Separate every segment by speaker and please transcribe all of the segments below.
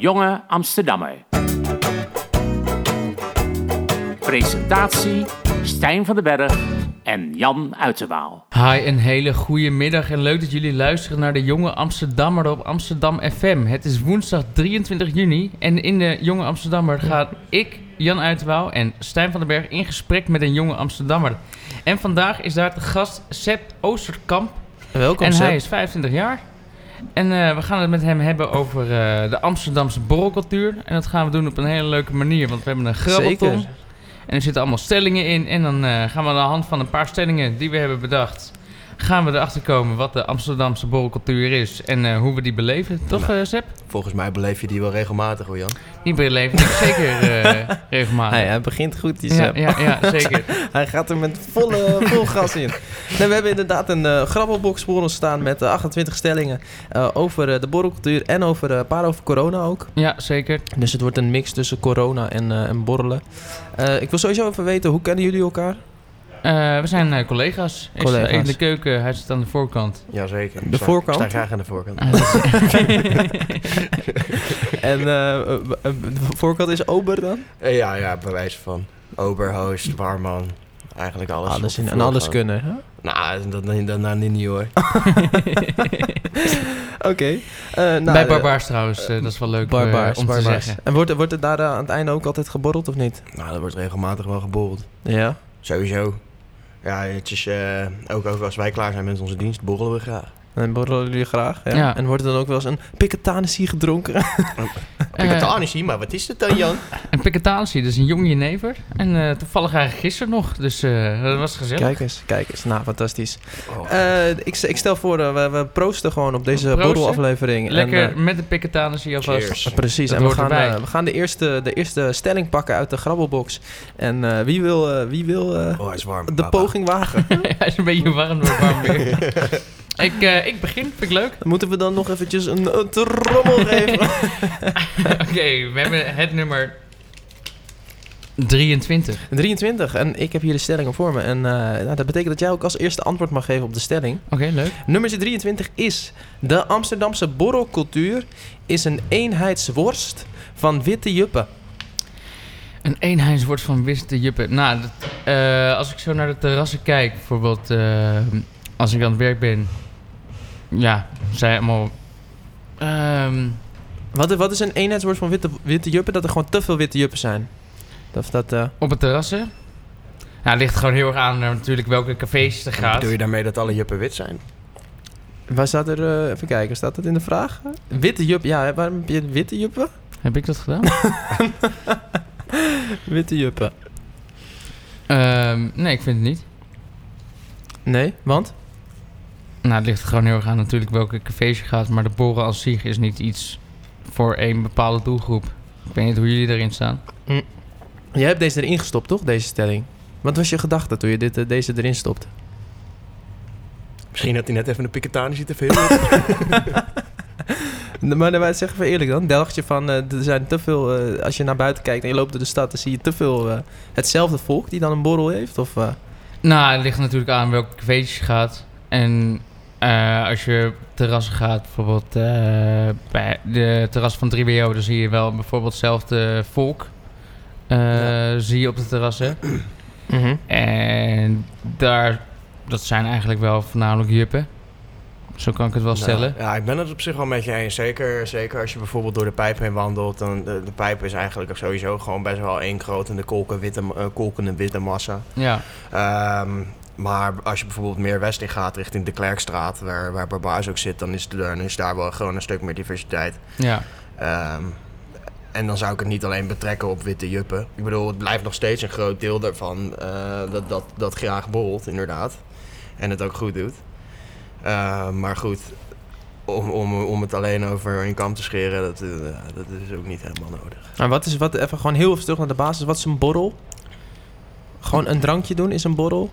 Speaker 1: jonge Amsterdammer. Presentatie Stijn van den Berg en Jan Uiterwaal.
Speaker 2: Hi, een hele goede middag en leuk dat jullie luisteren naar de Jonge Amsterdammer op Amsterdam FM. Het is woensdag 23 juni en in de Jonge Amsterdammer gaat ik, Jan Uiterwaal en Stijn van den Berg in gesprek met een jonge Amsterdammer. En vandaag is daar te gast Sepp Oosterkamp
Speaker 3: Welkom,
Speaker 2: en
Speaker 3: Sepp.
Speaker 2: hij is 25 jaar. En eh, we gaan het met hem hebben over eh, de Amsterdamse borrelcultuur. En dat gaan we doen op een hele leuke manier, want we hebben een grabbelton.
Speaker 3: Zeker.
Speaker 2: En er zitten allemaal stellingen in. En dan eh, gaan we aan de hand van een paar stellingen die we hebben bedacht... gaan we erachter komen wat de Amsterdamse borrelcultuur is en eh, hoe we die beleven. Toch,
Speaker 3: Nou.
Speaker 2: eh Sepp?
Speaker 3: Volgens mij beleef je die wel regelmatig hoor, Jan.
Speaker 2: Die beleven ik zeker eh, regelmatig.
Speaker 3: Hij, hij begint goed, die
Speaker 2: ja,
Speaker 3: Sepp.
Speaker 2: ja, ja, zeker.
Speaker 3: Hij gaat er met volle, vol gas in. Nee, we hebben inderdaad een eh grabbelbox voor ons staan met eh, 28 stellingen eh, over eh, de borrelcultuur en over eh, een paar over corona ook.
Speaker 2: Ja, zeker.
Speaker 3: Dus het wordt een mix tussen corona en, eh, en borrelen. Eh, ik wil sowieso even weten, hoe kennen jullie elkaar?
Speaker 2: Eh, we zijn eh, collega's. Ik sta
Speaker 3: Collega's.
Speaker 2: in de keuken, hij zit aan de voorkant.
Speaker 4: Jazeker.
Speaker 3: De
Speaker 4: Ik sta-
Speaker 3: voorkant?
Speaker 4: Ik sta graag aan de voorkant.
Speaker 3: En eh, eh, eh, de voorkant is Ober dan?
Speaker 4: Eh, ja, ja, bewijs van. Oberhost, barman. Eigenlijk alles.
Speaker 3: Alles
Speaker 4: op
Speaker 3: in
Speaker 4: de
Speaker 3: en alles Ah.
Speaker 4: voorkant.
Speaker 3: kunnen. hè?
Speaker 4: Nou, dat, dat, dat, dat niet hoor.
Speaker 3: Oké. Eh, nou,
Speaker 2: Bij
Speaker 3: eh,
Speaker 2: Barbaars trouwens, eh, dat is wel leuk eh,
Speaker 3: Barbaars,
Speaker 2: om te
Speaker 3: barbaars.
Speaker 2: zeggen.
Speaker 3: En wordt, er- wordt het daar eh, aan het einde ook altijd geborreld of niet?
Speaker 4: Nou, dat wordt regelmatig wel geborreld.
Speaker 3: Ja.
Speaker 4: Sowieso. Ja, het is eh, ook, ook als wij klaar zijn met onze dienst, borrelen we graag.
Speaker 3: En borrelen jullie graag. Ja.
Speaker 2: Ja.
Speaker 3: En wordt er dan ook wel eens een piketanissie gedronken?
Speaker 2: Eh,
Speaker 4: Piketanissie, maar wat is het dan, Jan?
Speaker 2: en Piketanissie, dat is een jong jenever. En eh, toevallig eigenlijk gisteren nog, dus eh, dat was gezellig.
Speaker 3: Kijk eens, kijk eens. Nou, fantastisch.
Speaker 4: Oh.
Speaker 3: Eh, ik, ik stel voor, dat we, we proosten gewoon op deze
Speaker 2: Proosten.
Speaker 3: borrelaflevering. En,
Speaker 2: Lekker
Speaker 3: eh,
Speaker 2: met de Piketanissie alvast.
Speaker 4: Cheers.
Speaker 3: Precies,
Speaker 2: Dat
Speaker 3: en we
Speaker 2: hoort
Speaker 3: gaan,
Speaker 2: erbij.
Speaker 3: eh, we gaan de, eerste, de eerste stelling pakken uit de grabbelbox. En eh, wie wil, eh, wie wil eh,
Speaker 4: Oh, hij is warm.
Speaker 3: de
Speaker 4: papa.
Speaker 3: poging wagen?
Speaker 2: Hij is een beetje warm door warm weer. ik, eh, ik begin, vind ik leuk.
Speaker 3: Dan moeten we dan nog eventjes een, een trommel geven.
Speaker 2: Oké, we hebben het nummer 23.
Speaker 3: 23, en ik heb hier de stellingen voor me. En eh, nou, dat betekent dat jij ook als eerste antwoord mag geven op de stelling.
Speaker 2: Oké, leuk.
Speaker 3: Nummer 23 is... De Amsterdamse borrelcultuur is een eenheidsworst van witte juppen.
Speaker 2: Een eenheidswoord van Wist de Juppen. Nou, dat, eh, als ik zo naar de terrassen kijk, bijvoorbeeld eh, als ik aan het werk ben. Ja, zij allemaal... ehm,
Speaker 3: Wat, wat is een eenheidsworst van witte, witte juppen? Dat er gewoon te veel witte juppen zijn. Dat, dat, eh,
Speaker 2: op het terrassen. Nou, het ligt gewoon heel erg aan eh, natuurlijk welke cafés er
Speaker 4: En
Speaker 2: gaat.
Speaker 4: Bedoel je daarmee dat alle juppen wit zijn?
Speaker 3: waar staat er... eh, even kijken, staat dat in de vraag? Witte juppen, ja. Waarom heb je witte juppen?
Speaker 2: Heb ik dat gedaan?
Speaker 3: Witte juppen.
Speaker 2: Ehm, nee, ik vind het niet.
Speaker 3: Nee, want?
Speaker 2: Nou, het ligt er gewoon heel erg aan natuurlijk welke cafés je gaat. Maar de borrel als zich is niet iets voor één bepaalde doelgroep. Ik weet niet hoe jullie erin staan.
Speaker 3: Jij hebt deze erin gestopt, toch? Deze stelling. Wat was je gedachte toen je dit, eh, deze erin stopte?
Speaker 4: Misschien had hij net even een piketanissie te veel. op.
Speaker 3: Nee, Maar wij zeggen we eerlijk dan. Dacht je van, eh, er zijn te veel... eh, als je naar buiten kijkt en je loopt door de stad... dan zie je te veel eh, hetzelfde volk die dan een borrel heeft? Of, eh,
Speaker 2: Nou, het ligt natuurlijk aan welke cafés je gaat. En eh, als je op terrassen gaat, bijvoorbeeld eh, bij de terras van 3BO... dan zie je wel bijvoorbeeld hetzelfde volk. eh, Zie je op de terrassen.
Speaker 3: Mhm.
Speaker 2: En daar, dat zijn eigenlijk wel voornamelijk juppen. Zo kan ik het wel stellen.
Speaker 4: Nou, ja, ik ben het op zich wel met je eens. Zeker, zeker als je bijvoorbeeld door de pijp heen wandelt. Dan de, de pijp is eigenlijk sowieso gewoon best wel één grotende kolken witte, eh, kolkende witte massa.
Speaker 2: Ja,
Speaker 4: Ehm, maar als je bijvoorbeeld meer west in gaat, richting de Klerkstraat, waar, waar Barbaars ook zit, dan is, de, dan is daar wel gewoon een stuk meer diversiteit.
Speaker 2: ja.
Speaker 4: Ehm, en dan zou ik het niet alleen betrekken op witte juppen. Ik bedoel, het blijft nog steeds een groot deel daarvan eh, dat, dat, dat graag borrelt, inderdaad. En het ook goed doet. Ehm, maar goed, om, om, om het alleen over een kam te scheren, dat, eh, dat is ook niet helemaal nodig.
Speaker 3: Maar wat is, wat, even gewoon heel even terug naar de basis. Wat is een borrel? Gewoon een drankje doen is een borrel?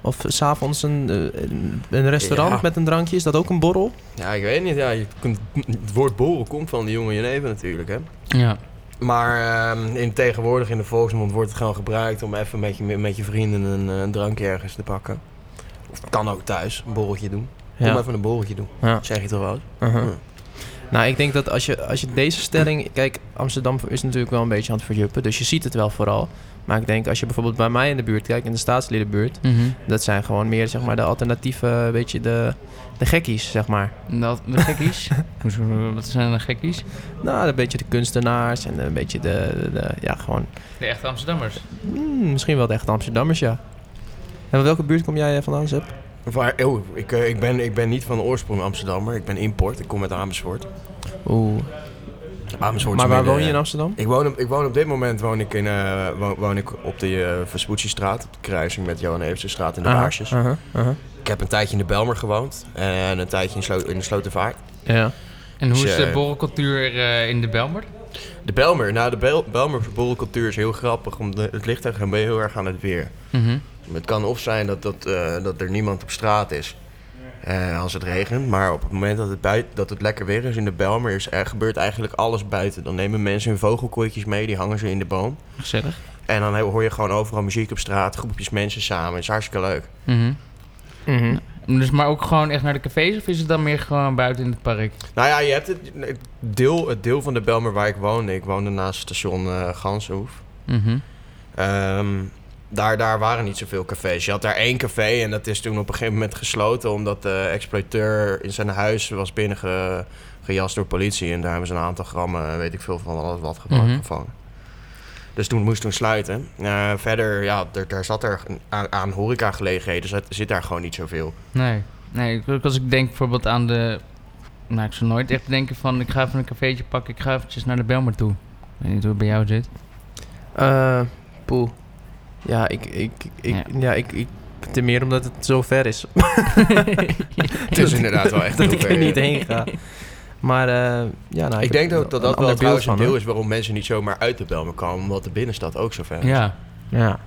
Speaker 3: Of s'avonds een, eh, een- een restaurant
Speaker 4: Ja.
Speaker 3: met een drankje, is dat ook een borrel?
Speaker 4: Ja, ik weet niet. Ja, je kunt, het woord borrel komt van de jonge Geneven natuurlijk, hè.
Speaker 2: ja.
Speaker 4: Maar ehm, in tegenwoordig in de volksmond wordt het gewoon gebruikt om even met je, met je vrienden een, eh, een drankje ergens te pakken. Of het kan ook thuis, een borreltje doen. Kom even een borreltje doen.
Speaker 3: Ja.
Speaker 4: Zeg je toch wel?
Speaker 3: Uh-huh.
Speaker 4: Ja.
Speaker 3: Nou, ik denk dat als je, als je deze stelling... Kijk, Amsterdam is natuurlijk wel een beetje aan het verjuppen. Dus je ziet het wel vooral. Maar ik denk, als je bijvoorbeeld bij mij in de buurt kijkt, in de staatsliedenbuurt...
Speaker 2: Mhm.
Speaker 3: Dat zijn gewoon meer, zeg maar, de alternatieve, weet je, de, de gekkies, zeg maar.
Speaker 2: Dat, de gekkies? Hoezo- Wat zijn de gekkies?
Speaker 3: Nou, een beetje de kunstenaars en een beetje de, de- de- ja, gewoon...
Speaker 2: De echte Amsterdammers.
Speaker 3: mm, misschien wel de echte Amsterdammers, ja. En van welke buurt kom jij eh, vandaan, Zep?
Speaker 4: Waar, oh, ik, eh, ik, ben, ik ben niet van oorsprong Amsterdammer. Ik ben import. Ik kom uit Amersfoort.
Speaker 3: Oeh.
Speaker 4: Amersfoort is
Speaker 3: Maar waar
Speaker 4: midden-
Speaker 3: woon je in Amsterdam?
Speaker 4: Ik woon, op, ik woon op dit moment woon ik in, eh, wo- woon, ik op de eh Vespucci-straat. Op de kruising met Johan Evensestraat in de
Speaker 3: Aha,
Speaker 4: Baarsjes.
Speaker 3: aha, aha.
Speaker 4: Ik heb een tijdje in de Belmer gewoond. En een tijdje in, Slo in de Slotervaart.
Speaker 3: Ja.
Speaker 2: En hoe is de
Speaker 4: Tja.
Speaker 2: borrelcultuur eh, in de Belmer?
Speaker 4: De Belmer. Nou, de Bel Belmer borrelcultuur is heel grappig. Om de, het ligt er gewoon heel erg aan het weer.
Speaker 2: Mhm.
Speaker 4: Het kan of zijn dat, dat, eh, dat er niemand op straat is eh, als het regent. Maar op het moment dat het, buiten, dat het lekker weer is in de Belmer, is, er gebeurt eigenlijk alles buiten. Dan nemen mensen hun vogelkooitjes mee, die hangen ze in de boom.
Speaker 2: Gezellig.
Speaker 4: En dan hoor je gewoon overal muziek op straat, groepjes mensen samen. Het is hartstikke leuk.
Speaker 2: Mhm.
Speaker 3: Mhm.
Speaker 2: Dus maar ook gewoon echt naar de cafés of is het dan meer gewoon buiten in het park?
Speaker 4: Nou ja, je hebt het, het deel, het deel van de Belmer waar ik woonde. Ik woonde naast station eh Ganshoef.
Speaker 2: Mhm.
Speaker 4: Ehm, daar, daar waren niet zoveel cafés. Je had daar één café en dat is toen op een gegeven moment gesloten... omdat de exploiteur in zijn huis was binnenge gejast door politie. En daar hebben ze een aantal grammen, weet ik veel, van alles wat geva-
Speaker 2: Mhm.
Speaker 4: gevangen. Dus toen moest toen sluiten. Eh, verder, ja, er, daar zat er aan, aan horecagelegenheden zat, zit daar gewoon niet zoveel.
Speaker 2: Nee. Nee, ik- ook als ik denk bijvoorbeeld aan de... Nou, ik zou nooit echt denken van ik ga even een cafeetje pakken, ik ga eventjes naar de Belmer toe. Ik weet niet hoe het bij jou zit.
Speaker 3: Eh, poeh. Ja, ik, ik, ik,
Speaker 2: Ja.
Speaker 3: ja, ik, ik, ten meer omdat het zo ver is.
Speaker 4: Het is inderdaad wel echt
Speaker 3: dat
Speaker 4: heel
Speaker 3: ik
Speaker 4: ver,
Speaker 3: er niet
Speaker 4: ja.
Speaker 3: heen ga. Maar, eh, ja, nou,
Speaker 4: Ik denk
Speaker 3: heb
Speaker 4: ook dat
Speaker 3: een
Speaker 4: dat wel
Speaker 3: ander
Speaker 4: trouwens een
Speaker 3: hoor.
Speaker 4: deel is waarom mensen niet zomaar uit de Belmer komen... omdat de binnenstad ook zo ver is.
Speaker 2: ja,
Speaker 3: Ja.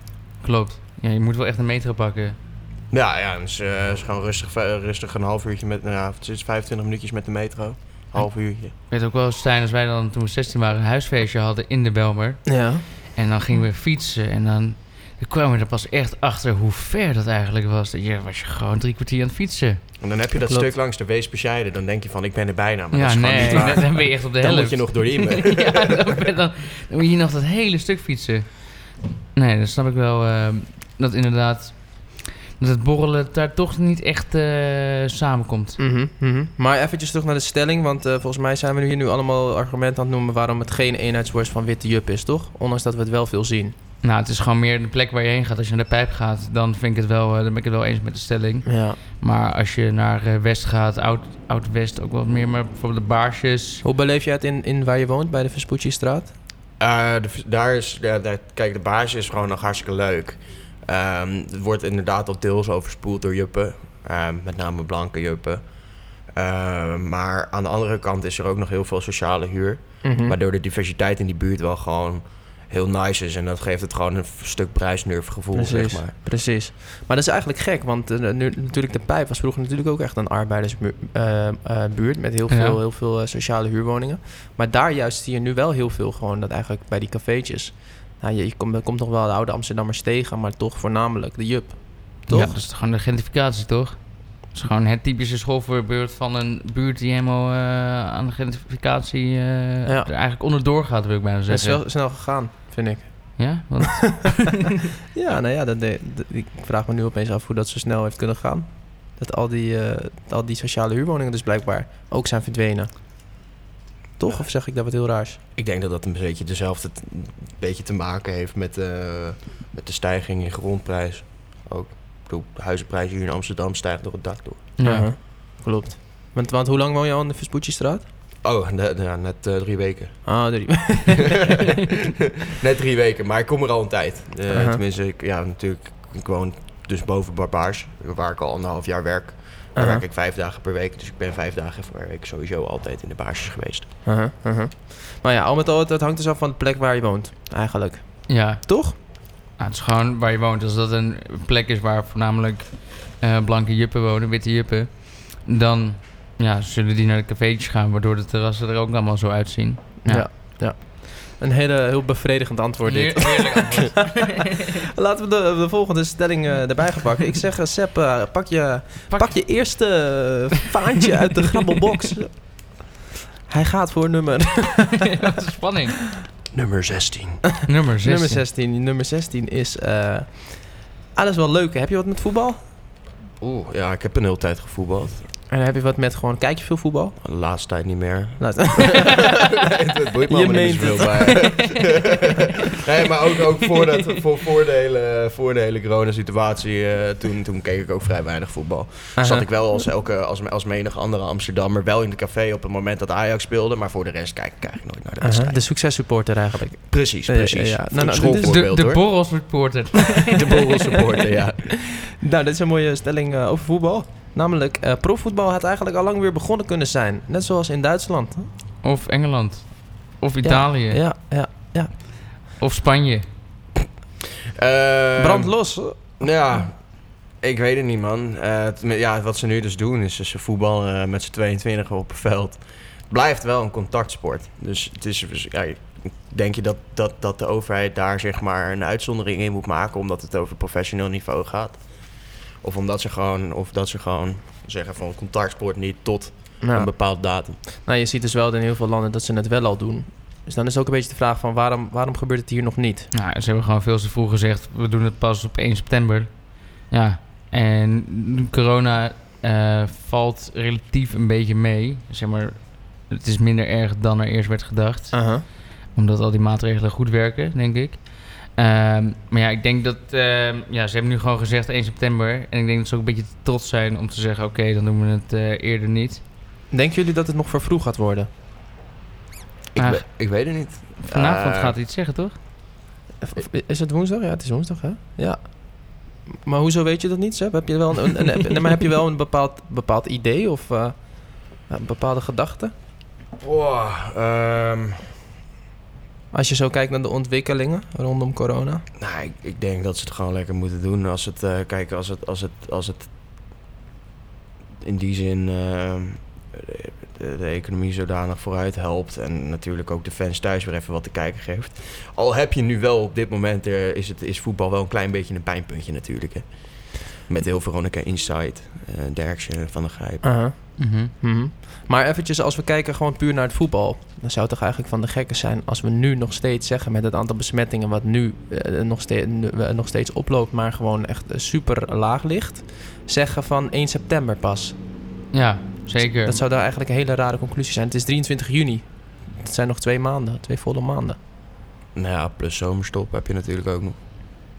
Speaker 2: klopt. Ja, je moet wel echt een metro pakken.
Speaker 4: Ja, ja, het is, eh, het is gewoon rustig, eh, rustig een half uurtje met, nou ja, het is 25 minuutjes met de metro. Half uurtje.
Speaker 2: Ik weet ook wel, Stijn, als wij dan toen we 16 waren een huisfeestje hadden in de Belmer.
Speaker 3: Ja.
Speaker 2: En dan gingen we fietsen en dan dan kwamen we er pas echt achter hoe ver dat eigenlijk was. Dat je was je gewoon drie kwartier aan het fietsen.
Speaker 4: En dan heb je dat
Speaker 3: Klopt.
Speaker 4: stuk langs de Weesbescheiden, dan denk je van ik ben er bijna, maar dat
Speaker 2: ja,
Speaker 4: is gewoon
Speaker 2: nee,
Speaker 4: niet waar.
Speaker 2: dan, dan ben je echt op de
Speaker 4: Dan
Speaker 2: helft.
Speaker 4: moet je nog door die Immer.
Speaker 2: ja, dan, ben- dan, dan moet je nog dat hele stuk fietsen. Nee, dan snap ik wel ehm, dat inderdaad dat het borrelen daar toch niet echt eh, samenkomt.
Speaker 3: Mhm, mhm. Maar eventjes terug naar de stelling, want eh, volgens mij zijn we nu hier nu allemaal argumenten aan het noemen waarom het geen eenheidsworst van witte jup is, toch? Ondanks dat we het wel veel zien.
Speaker 2: Nou, het is gewoon meer de plek waar je heen gaat. Als je naar de pijp gaat, dan, vind ik het wel, eh, dan ben ik het wel eens met de stelling.
Speaker 3: Ja.
Speaker 2: Maar als je naar eh, West gaat, Oud- Oud-West ook wat meer, maar bijvoorbeeld de baarsjes.
Speaker 3: Hoe beleef jij het in, in waar je woont, bij de Vespucci-straat?
Speaker 4: Eh, de- daar is, ja, daar, kijk, de basis is gewoon nog hartstikke leuk. Ehm, het wordt inderdaad al deels overspoeld door juppen. Ehm, met name blanke juppen. Ehm, maar aan de andere kant is er ook nog heel veel sociale huur.
Speaker 3: Hm.
Speaker 4: Waardoor de diversiteit in die buurt wel gewoon heel nice is. En dat geeft het gewoon een f- stuk prijsnurfgevoel,
Speaker 3: Precies.
Speaker 4: zeg maar.
Speaker 3: Precies. Maar dat is eigenlijk gek, want eh, nu, natuurlijk de Pijp was vroeger natuurlijk ook echt een arbeidersbuurt eh, eh, buurt met heel
Speaker 2: Ja.
Speaker 3: veel, heel veel eh, sociale huurwoningen. Maar daar juist zie je nu wel heel veel gewoon dat eigenlijk bij die cafeetjes. Nou, je, je komt, er komt nog wel de oude Amsterdammers tegen, maar toch voornamelijk de jup. Toch?
Speaker 2: Ja, dat is gewoon de gentrificatie, toch? Dat is gewoon het typische schoolvoorbeeld van een buurt die helemaal eh, aan de gentrificatie eh,
Speaker 3: Ja.
Speaker 2: er eigenlijk onderdoor gaat, wil ik bijna
Speaker 3: Dat is
Speaker 2: zeggen.
Speaker 3: wel snel gegaan, vind ik.
Speaker 2: Ja, want
Speaker 3: Ja, nou ja, dat, de- de- ik vraag me nu opeens af hoe dat zo snel heeft kunnen gaan. Dat al die, eh, al die sociale huurwoningen dus blijkbaar ook zijn verdwenen. Toch? Of zeg ik dat wat heel raars?
Speaker 4: Ik denk dat dat een beetje dezelfde t- een beetje te maken heeft met, eh, met de stijging in grondprijs. Ook. Ik bedoel, de huizenprijs hier in Amsterdam stijgt door het dak door.
Speaker 2: ja.
Speaker 3: Uh-huh. Klopt. Want, want hoe lang woon je al in de Vespucci-straat?
Speaker 4: Oh, net, ja, net eh, drie weken.
Speaker 3: Ah, drie.
Speaker 4: net drie weken, maar ik kom er al een tijd. Eh,
Speaker 3: Aha.
Speaker 4: Tenminste, ik, ja, natuurlijk, ik woon dus boven Barbaars, waar ik al anderhalf jaar werk. Daar
Speaker 3: Aha.
Speaker 4: werk ik vijf dagen per week, dus ik ben vijf dagen per week sowieso altijd in de baarsjes geweest.
Speaker 3: Uh-huh, uh-huh. Maar ja, al met al, het, het hangt dus af van de plek waar je woont, eigenlijk.
Speaker 2: ja.
Speaker 3: Toch?
Speaker 2: Nou, het is gewoon waar je woont. Als dat een plek is waar voornamelijk eh, blanke juppen wonen, witte juppen, dan ja, zullen die naar de cafeetjes gaan, waardoor de terrassen er ook allemaal zo uitzien. Ja.
Speaker 3: ja. Een hele, heel bevredigend antwoord dit.
Speaker 2: Heer- heerlijk antwoord.
Speaker 3: Laten we de, de volgende stelling eh, erbij gaan pakken. Ik zeg, eh, Sepp, eh, pak, je, pak, je eerste eh, vaantje uit de grabbelbox. Hij gaat voor nummer...
Speaker 2: dat is spanning.
Speaker 4: Nummer 16.
Speaker 2: Nummer 16.
Speaker 3: nummer 16. Nummer 16 is... eh, ah, dat is wel leuk. hè. Heb je wat met voetbal?
Speaker 4: Oeh, ja, ik heb een hele tijd gevoetbald.
Speaker 3: En heb je wat met gewoon... Kijk je veel voetbal?
Speaker 4: De laatste tijd niet meer.
Speaker 3: Nou,
Speaker 4: het boeit me
Speaker 3: Je
Speaker 4: allemaal niet meer
Speaker 3: meent
Speaker 4: zoveel bij. nee, maar ook, ook voor, dat, voor, voor, de hele, voor de hele corona-situatie, eh, toen, toen keek ik ook vrij weinig voetbal. Zat ik wel als, elke, als, als menig andere Amsterdammer wel in de café op het moment dat Ajax speelde, maar voor de rest kijk ik eigenlijk nooit naar de
Speaker 3: Aha,
Speaker 4: wedstrijd.
Speaker 3: de successupporter eigenlijk.
Speaker 4: Precies,
Speaker 3: Ja, ja,
Speaker 4: precies.
Speaker 3: ja. Nou, nou,
Speaker 2: Dus
Speaker 4: schoolvoorbeeld
Speaker 2: de, de
Speaker 4: hoor.
Speaker 2: borrels reporter.
Speaker 4: de borrel supporter, ja.
Speaker 3: Nou, dit is een mooie stelling eh, over voetbal. Namelijk, eh, profvoetbal had eigenlijk al lang weer begonnen kunnen zijn. Net zoals in Duitsland.
Speaker 2: Of Engeland. Of Italië.
Speaker 3: Ja, ja.
Speaker 2: Of Spanje.
Speaker 4: Ehm,
Speaker 3: Brand los.
Speaker 4: Ja, ik weet het niet, man. Eh, het- ja, wat ze nu dus doen, is dus ze voetballen eh, met z'n 22 op het veld. Blijft wel een contactsport. Dus het is. dus, ja, denk je dat, dat, dat de overheid daar zeg maar een uitzondering in moet maken omdat het over professioneel niveau gaat? Of omdat ze gewoon, of dat ze gewoon zeggen van contactsport niet tot een
Speaker 3: Nou,
Speaker 4: bepaald datum.
Speaker 3: nou, je ziet dus wel in heel veel landen dat ze het wel al doen. Dus dan is ook een beetje de vraag van waarom, waarom gebeurt het hier nog niet?
Speaker 2: Nou, ze hebben gewoon veel te vroeg gezegd. We doen het pas op 1 september. Ja. En corona eh, valt relatief een beetje mee. Zeg maar, het is minder erg dan er eerst werd gedacht. Omdat al die maatregelen goed werken, denk ik. Ehm, maar ja, ik denk dat... ehm, ja, ze hebben nu gewoon gezegd 1 september. En ik denk dat ze ook een beetje te trots zijn om te zeggen... Oké, dan doen we het eh, eerder niet.
Speaker 3: Denken jullie dat het nog voor vroeg gaat worden?
Speaker 4: Ik,
Speaker 2: Ah.
Speaker 4: we- ik weet het niet.
Speaker 2: Vanavond
Speaker 4: Eh,
Speaker 2: gaat hij iets zeggen, toch?
Speaker 3: Of- of- Is het woensdag? Ja, het is woensdag, hè? Ja. Maar hoezo weet je dat niet, Seb? Heb je wel een, een, een- nee, maar heb je wel een bepaald, bepaald idee of eh, een bepaalde gedachte?
Speaker 4: Wow, ehm,
Speaker 3: Als je zo kijkt naar de ontwikkelingen rondom corona.
Speaker 4: Nou, ik, ik denk dat ze het gewoon lekker moeten doen. Als het, eh, kijk, als het, als het, als het in die zin ehm, de, de economie zodanig vooruit helpt en natuurlijk ook de fans thuis weer even wat te kijken geeft. Al heb je nu wel op dit moment, eh, is, het, is voetbal wel een klein beetje een pijnpuntje natuurlijk. Hè? Met heel Veronica Insight, eh Derksen, Van der Grijp.
Speaker 2: Mhm.
Speaker 3: Mhm. Maar eventjes, als we kijken gewoon puur naar het voetbal... dan zou het toch eigenlijk van de gekken zijn... als we nu nog steeds zeggen met het aantal besmettingen... wat nu eh, nog, steeds, nog steeds oploopt, maar gewoon echt eh, super laag ligt... zeggen van 1 september pas.
Speaker 2: Ja, zeker.
Speaker 3: Dat zou daar eigenlijk een hele rare conclusie zijn. Het is 23 juni. Het zijn nog twee maanden, twee volle maanden.
Speaker 4: Nou ja, plus zomerstop heb je natuurlijk ook nog.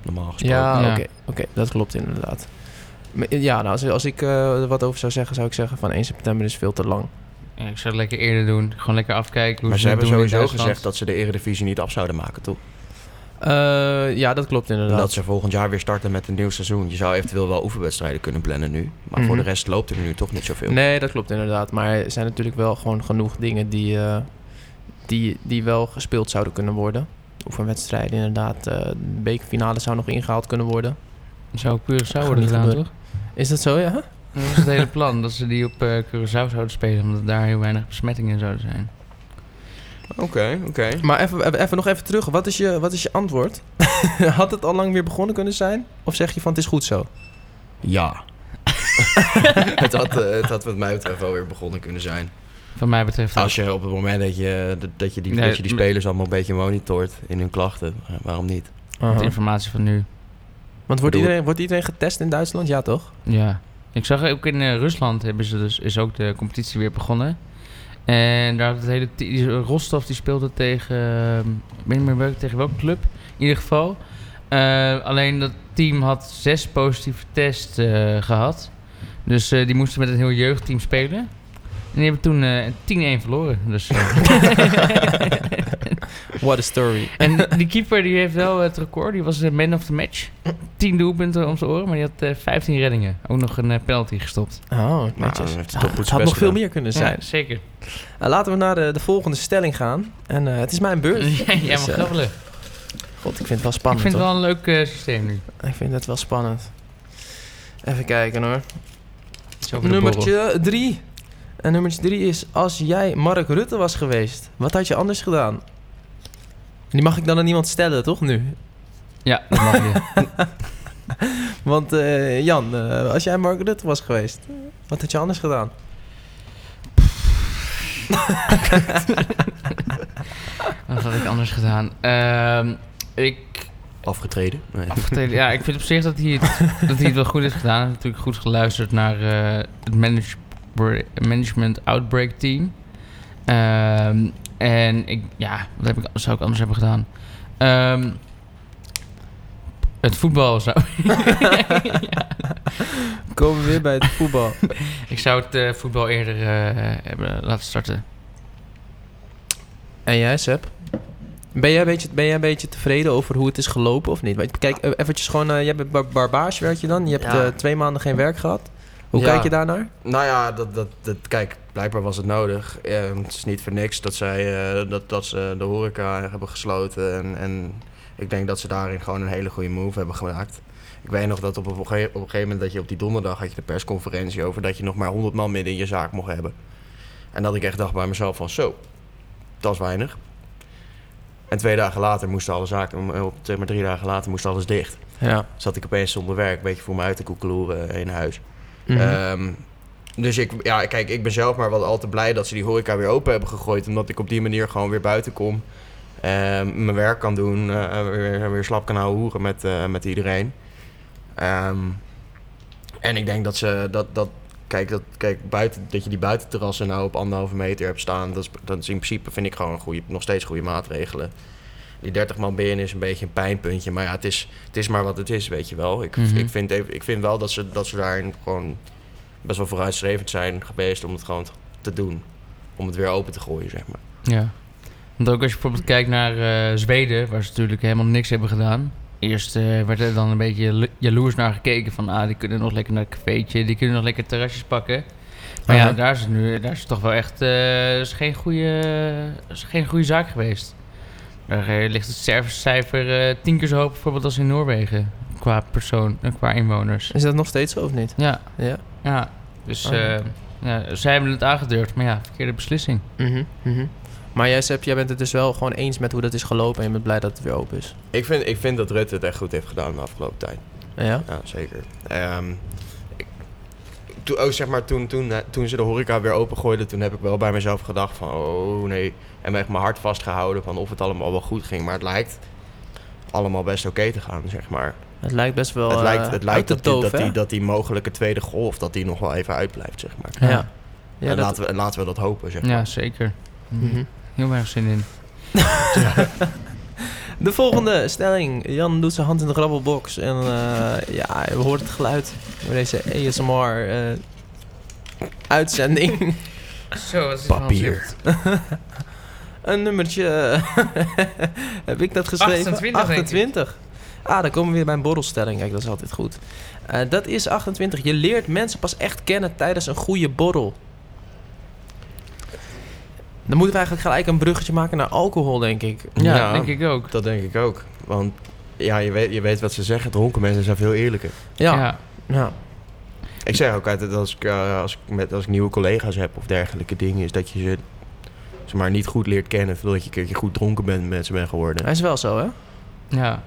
Speaker 4: Normaal gesproken.
Speaker 3: Ja,
Speaker 2: Ja.
Speaker 3: oké, oké, dat klopt inderdaad. Maar, eh, Ja, nou, als, als ik eh, er wat over zou zeggen, zou ik zeggen van 1 september is veel te lang.
Speaker 2: Ja, ik zou het lekker eerder doen. Gewoon lekker afkijken hoe
Speaker 4: Maar ze
Speaker 2: het
Speaker 4: hebben
Speaker 2: doen in
Speaker 4: sowieso
Speaker 2: Duitsland.
Speaker 4: gezegd dat ze de Eredivisie niet af zouden maken, toch?
Speaker 3: Eh, ja, dat klopt inderdaad.
Speaker 4: Dat ze volgend jaar weer starten met een nieuw seizoen. Je zou eventueel wel oefenwedstrijden kunnen plannen nu. Maar voor de
Speaker 3: Mhm.
Speaker 4: rest loopt er nu toch niet zoveel.
Speaker 3: Nee, dat klopt inderdaad. Maar er zijn natuurlijk wel gewoon genoeg dingen die, eh, die, die wel gespeeld zouden kunnen worden. Oefenwedstrijden inderdaad. eh, de bekerfinale zou nog ingehaald kunnen worden.
Speaker 2: Zou op Curaçao
Speaker 3: Gaat
Speaker 2: worden
Speaker 3: niet
Speaker 2: gedaan,
Speaker 3: gebeuren.
Speaker 2: toch?
Speaker 3: Is dat zo, ja?
Speaker 2: Dat was het hele plan, dat ze die op eh, Curaçao zouden spelen, omdat daar heel weinig besmettingen zouden zijn.
Speaker 4: Oké, oké.
Speaker 3: Maar even, even, even nog even terug. Wat is je, wat is je antwoord? Had het al lang weer begonnen kunnen zijn? Of zeg je van het is goed zo?
Speaker 4: Ja. het, had, eh, het had wat mij betreft wel weer begonnen kunnen zijn.
Speaker 2: Van mij betreft
Speaker 3: Ah,
Speaker 2: dat.
Speaker 4: Als je op het moment dat je, dat- dat je, die,
Speaker 2: Nee,
Speaker 4: dat je die
Speaker 2: m-
Speaker 4: spelers allemaal een beetje monitort in hun klachten. eh, Waarom niet?
Speaker 2: met
Speaker 3: uh-huh.
Speaker 2: informatie van nu.
Speaker 3: Want wordt
Speaker 4: Bedoel-
Speaker 3: iedereen, wordt iedereen getest in Duitsland? Ja, toch?
Speaker 2: Ja. Ik zag ook in eh, Rusland hebben ze dus, is ook de competitie weer begonnen. En daar had het hele te- die- Rostov die speelde tegen, eh, ik weet niet meer welke, tegen welke club, in ieder geval. Eh, alleen dat team had zes positieve tests eh, gehad. Dus eh, die moesten met een heel jeugdteam spelen. En die hebben toen eh 10-1 verloren. Dus, eh,
Speaker 3: What a story.
Speaker 2: En die keeper die heeft wel het record. Die was de man of the match. 10 doelpunten om zijn oren, maar die had eh, 15 reddingen. Ook nog een eh, penalty gestopt.
Speaker 3: Oh,
Speaker 4: Nou,
Speaker 3: netjes.
Speaker 4: dan heeft hij toch goed
Speaker 3: het
Speaker 4: zijn
Speaker 3: had
Speaker 4: best
Speaker 3: nog veel
Speaker 4: gedaan.
Speaker 3: meer kunnen zijn.
Speaker 2: Ja, zeker.
Speaker 3: Nou, laten we naar de, de volgende stelling gaan. En eh, het is mijn beurt.
Speaker 2: Jij jij mag
Speaker 3: Dus, eh,
Speaker 2: grappelen.
Speaker 3: God, ik vind het wel
Speaker 2: Ik
Speaker 3: spannend.
Speaker 2: vind het
Speaker 3: hoor.
Speaker 2: wel een leuk eh, systeem nu.
Speaker 3: Ik vind het wel spannend. Even kijken hoor.
Speaker 2: Zo voor de borrel.
Speaker 3: Nummertje drie. En nummertje drie is, als jij Mark Rutte was geweest, wat had je anders gedaan? Die mag ik dan aan iemand stellen, toch nu?
Speaker 2: Ja, dat mag je.
Speaker 3: Want eh, Jan, eh, als jij Mark Rutte was geweest, wat had je anders gedaan?
Speaker 2: Wat had ik anders gedaan? Ehm, ik,
Speaker 5: Afgetreden. Nee.
Speaker 2: afgetreden- ja, ik vind op zich dat hij het, dat hij het wel goed heeft gedaan. Hij heeft natuurlijk goed geluisterd naar eh, het manage- Management Outbreak Team. Ehm, en ik, ja, wat heb ik, zou ik anders hebben gedaan? Ehm, het voetbal zou
Speaker 3: Komen we weer bij het voetbal.
Speaker 2: Ik zou het eh, voetbal eerder eh, hebben laten starten.
Speaker 3: En jij, Seb? Ben jij, een beetje, ben jij een beetje tevreden over hoe het is gelopen of niet? Want kijk, eh, eventjes gewoon... eh, jij bent bar barbaage, werk je dan? Je hebt
Speaker 4: Ja.
Speaker 3: eh, twee maanden geen werk gehad. Hoe
Speaker 4: Ja.
Speaker 3: kijk je daarnaar?
Speaker 4: Nou ja, dat, dat, dat, kijk, blijkbaar was het nodig. Eh, het is niet voor niks dat, zij, eh, dat, dat ze de horeca hebben gesloten. En, en ik denk dat ze daarin gewoon een hele goede move hebben gemaakt. Ik weet nog dat op een, gege- op een gegeven moment dat je op die donderdag had je de persconferentie over dat je nog maar 100 man midden in je zaak mocht hebben. En dat ik echt dacht bij mezelf van zo, dat is weinig. En twee dagen later moesten alle zaken, eh, op zeg maar drie dagen later moest alles dicht.
Speaker 3: Ja.
Speaker 4: Zat ik opeens zonder werk, een beetje voor me uit te koekeloeren in huis.
Speaker 3: Eh, Mhm.
Speaker 4: Ehm, dus ik, ja, kijk, ik ben zelf maar wel al te blij dat ze die horeca weer open hebben gegooid. Omdat ik op die manier gewoon weer buiten kom. Ehm, mijn werk kan doen. eh, weer, weer slap kan houden hoeren met, eh, met iedereen. Ehm, en ik denk dat ze dat. dat Kijk, dat, kijk buiten, dat je die buitenterrassen nou op anderhalve meter hebt staan, dat is, dat is in principe, vind ik gewoon een goede, nog steeds goede maatregelen. Die 30 man binnen is een beetje een pijnpuntje, maar ja, het is, het is maar wat het is, weet je wel. Ik,
Speaker 2: Mhm.
Speaker 4: ik, vind, even- ik vind wel dat ze, dat ze daarin gewoon best wel vooruitstrevend zijn geweest om het gewoon t- te doen. Om het weer open te gooien, zeg maar.
Speaker 2: Ja. Want ook als je bijvoorbeeld kijkt naar eh, Zweden, waar ze natuurlijk helemaal niks hebben gedaan. Eerst eh, werd er dan een beetje l- jaloers naar gekeken van, ah, die kunnen nog lekker naar het cafeetje, die kunnen nog lekker terrasjes pakken. Maar ja,
Speaker 3: Aha.
Speaker 2: daar is het nu, daar is het toch wel echt, eh, is geen goede, is geen goede zaak geweest. Daar eh, ligt het servicecijfer eh, tien keer zo hoog bijvoorbeeld als in Noorwegen, qua persoon en qua inwoners.
Speaker 3: Is dat nog steeds zo of niet?
Speaker 2: Ja,
Speaker 3: Ja.
Speaker 2: ja. Dus
Speaker 3: Ah, ja.
Speaker 2: eh, ja, zij hebben het aangedurfd, maar ja, verkeerde beslissing.
Speaker 3: Mhm, mhm. Maar jij, Seb, jij bent het dus wel gewoon eens met hoe dat is gelopen... en je bent blij dat het weer open is.
Speaker 4: Ik vind, ik vind dat Rutte het echt goed heeft gedaan de afgelopen tijd.
Speaker 3: Ja?
Speaker 4: Ja, zeker. Ehm, ik- toen- ook zeg maar, toen, toen, eh, toen ze de horeca weer opengooiden, toen heb ik wel bij mezelf gedacht van, oh nee. En echt mijn hart vastgehouden van of het allemaal wel goed ging. Maar het lijkt allemaal best oké te gaan, zeg maar.
Speaker 3: Het lijkt best wel
Speaker 4: het lijkt,
Speaker 3: eh,
Speaker 4: het
Speaker 3: uit
Speaker 4: lijkt
Speaker 3: de
Speaker 4: dat, die,
Speaker 3: toof,
Speaker 4: dat,
Speaker 3: hè?
Speaker 4: die, dat die mogelijke tweede golf, dat die nog wel even uitblijft, zeg
Speaker 3: Ja.
Speaker 4: maar.
Speaker 2: Ja.
Speaker 3: Ja,
Speaker 4: en
Speaker 3: dat...
Speaker 4: laten, we, laten we dat hopen, zeg maar.
Speaker 2: Ja, zeker.
Speaker 3: Mhm.
Speaker 2: Heel erg zin in.
Speaker 3: De volgende stelling. Jan doet zijn hand in de grabbelbox. En eh, ja, je hoort het geluid. Bij deze eh, ASMR-uitzending.
Speaker 2: Zo, wat is
Speaker 4: Papier.
Speaker 3: Een nummertje. eh, Heb ik dat geschreven?
Speaker 2: 28, denk ik.
Speaker 3: 28. Ah, dan komen we weer bij een borrelstelling. Kijk, dat is altijd goed. Eh, dat is 28. Je leert mensen pas echt kennen tijdens een goede borrel. Dan moeten we eigenlijk gelijk een bruggetje maken naar alcohol, denk ik.
Speaker 2: Ja,
Speaker 4: Ja.
Speaker 2: denk ik ook.
Speaker 4: Dat denk ik ook. Want ja, je weet, je weet wat ze zeggen. Dronken mensen zijn veel eerlijker.
Speaker 3: Ja. ja.
Speaker 4: Ik zeg ook altijd als ik, eh, als ik, met, als ik nieuwe collega's heb of dergelijke dingen... is dat je ze zeg maar, niet goed leert kennen... voordat je een keertje goed dronken bent met ze bent geworden.
Speaker 3: Hij is wel zo, hè?
Speaker 2: ja.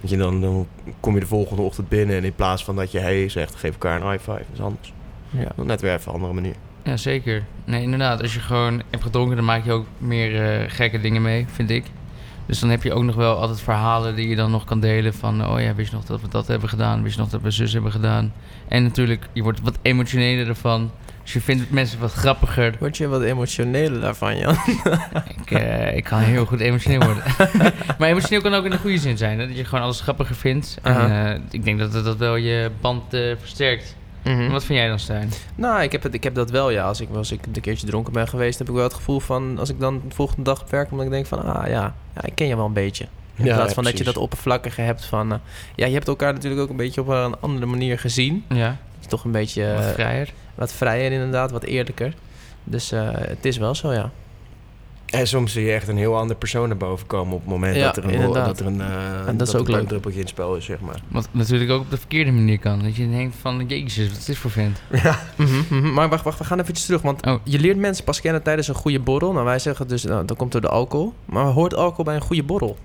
Speaker 4: Want je dan, dan kom je de volgende ochtend binnen... en in plaats van dat je hey zegt, geef elkaar een high five. Dat is anders.
Speaker 3: Ja.
Speaker 4: Op Net weer even een andere manier.
Speaker 2: Ja, zeker. Nee, inderdaad. Als je gewoon hebt gedronken, dan maak je ook meer eh, gekke dingen mee, vind ik. Dus dan heb je ook nog wel altijd verhalen die je dan nog kan delen van... oh ja, wist je nog dat we dat hebben gedaan? Wist je nog dat we zus hebben gedaan? En natuurlijk, je wordt wat emotioneler ervan. Dus je vindt mensen wat grappiger.
Speaker 3: Word je wat emotioneler daarvan, Jan?
Speaker 2: Ik, eh, ik kan heel goed emotioneel worden. maar emotioneel kan ook in de goede zin zijn. Hè? Dat je gewoon alles grappiger vindt. En
Speaker 4: Uh-huh.
Speaker 3: Aha.
Speaker 2: eh, ik denk dat dat dat wel je band eh, versterkt. Wat vind jij dan, Stijn?
Speaker 3: Nou, ik heb, het, ik heb dat wel, ja. Als ik, als ik een keertje dronken ben geweest, heb ik wel het gevoel van... als ik dan de volgende dag op werk kom, dat ik denk van... ah ja, ja ik ken je wel een beetje. In
Speaker 4: Ja,
Speaker 3: plaats
Speaker 4: ja,
Speaker 3: van dat je
Speaker 4: precies.
Speaker 3: dat oppervlakkige hebt van... eh, ja, je hebt elkaar natuurlijk ook een beetje op een andere manier gezien.
Speaker 2: Ja,
Speaker 3: Het is toch een beetje eh,
Speaker 2: wat
Speaker 3: wat,
Speaker 2: vrijer.
Speaker 3: vrijer inderdaad, wat eerlijker. Dus eh, het is wel zo, ja.
Speaker 4: En soms zie je echt een heel ander persoon naar boven komen... op het moment
Speaker 3: Ja,
Speaker 4: dat er een,
Speaker 3: inderdaad.
Speaker 4: dat er een, eh,
Speaker 3: is
Speaker 4: dat er
Speaker 3: ook
Speaker 4: een
Speaker 3: leuk.
Speaker 4: bloeddruppeltje in het spel is, zeg maar.
Speaker 2: Wat natuurlijk ook op de verkeerde manier kan. Dat je denkt van, jezus, wat is dit voor vent?
Speaker 3: Mhm, mhm. Maar wacht, wacht, we gaan eventjes terug. Want
Speaker 2: Oh.
Speaker 3: je leert mensen pas kennen tijdens een goede borrel. Nou, wij zeggen dus, nou, dat komt door de alcohol. Maar hoort alcohol bij een goede borrel?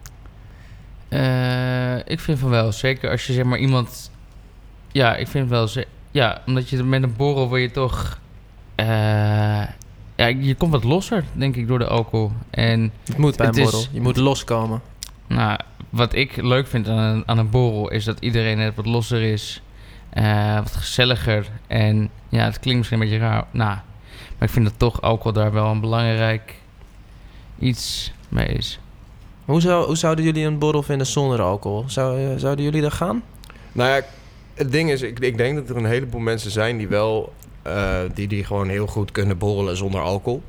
Speaker 2: Eh, ik vind van wel, zeker als je zeg maar iemand... Ja, ik vind wel... ze- Ja, omdat je met een borrel wil je toch... eh, ja, je komt wat losser, denk ik, door de alcohol. En
Speaker 3: Het moet bij een
Speaker 2: Het is-
Speaker 3: borrel. Je moet loskomen.
Speaker 2: nou, wat ik leuk vind aan een, aan een borrel is dat iedereen net wat losser is, eh, wat gezelliger. En ja, het klinkt misschien een beetje raar, nou, maar ik vind dat toch alcohol daar wel een belangrijk iets mee is.
Speaker 3: Maar Hoe, zou, hoe zouden jullie een borrel vinden zonder alcohol? Zou, eh, zouden jullie daar gaan?
Speaker 4: Nou ja, het ding is, ik, ik denk dat er een heleboel mensen zijn die wel... eh, die, die gewoon heel goed kunnen borrelen zonder alcohol.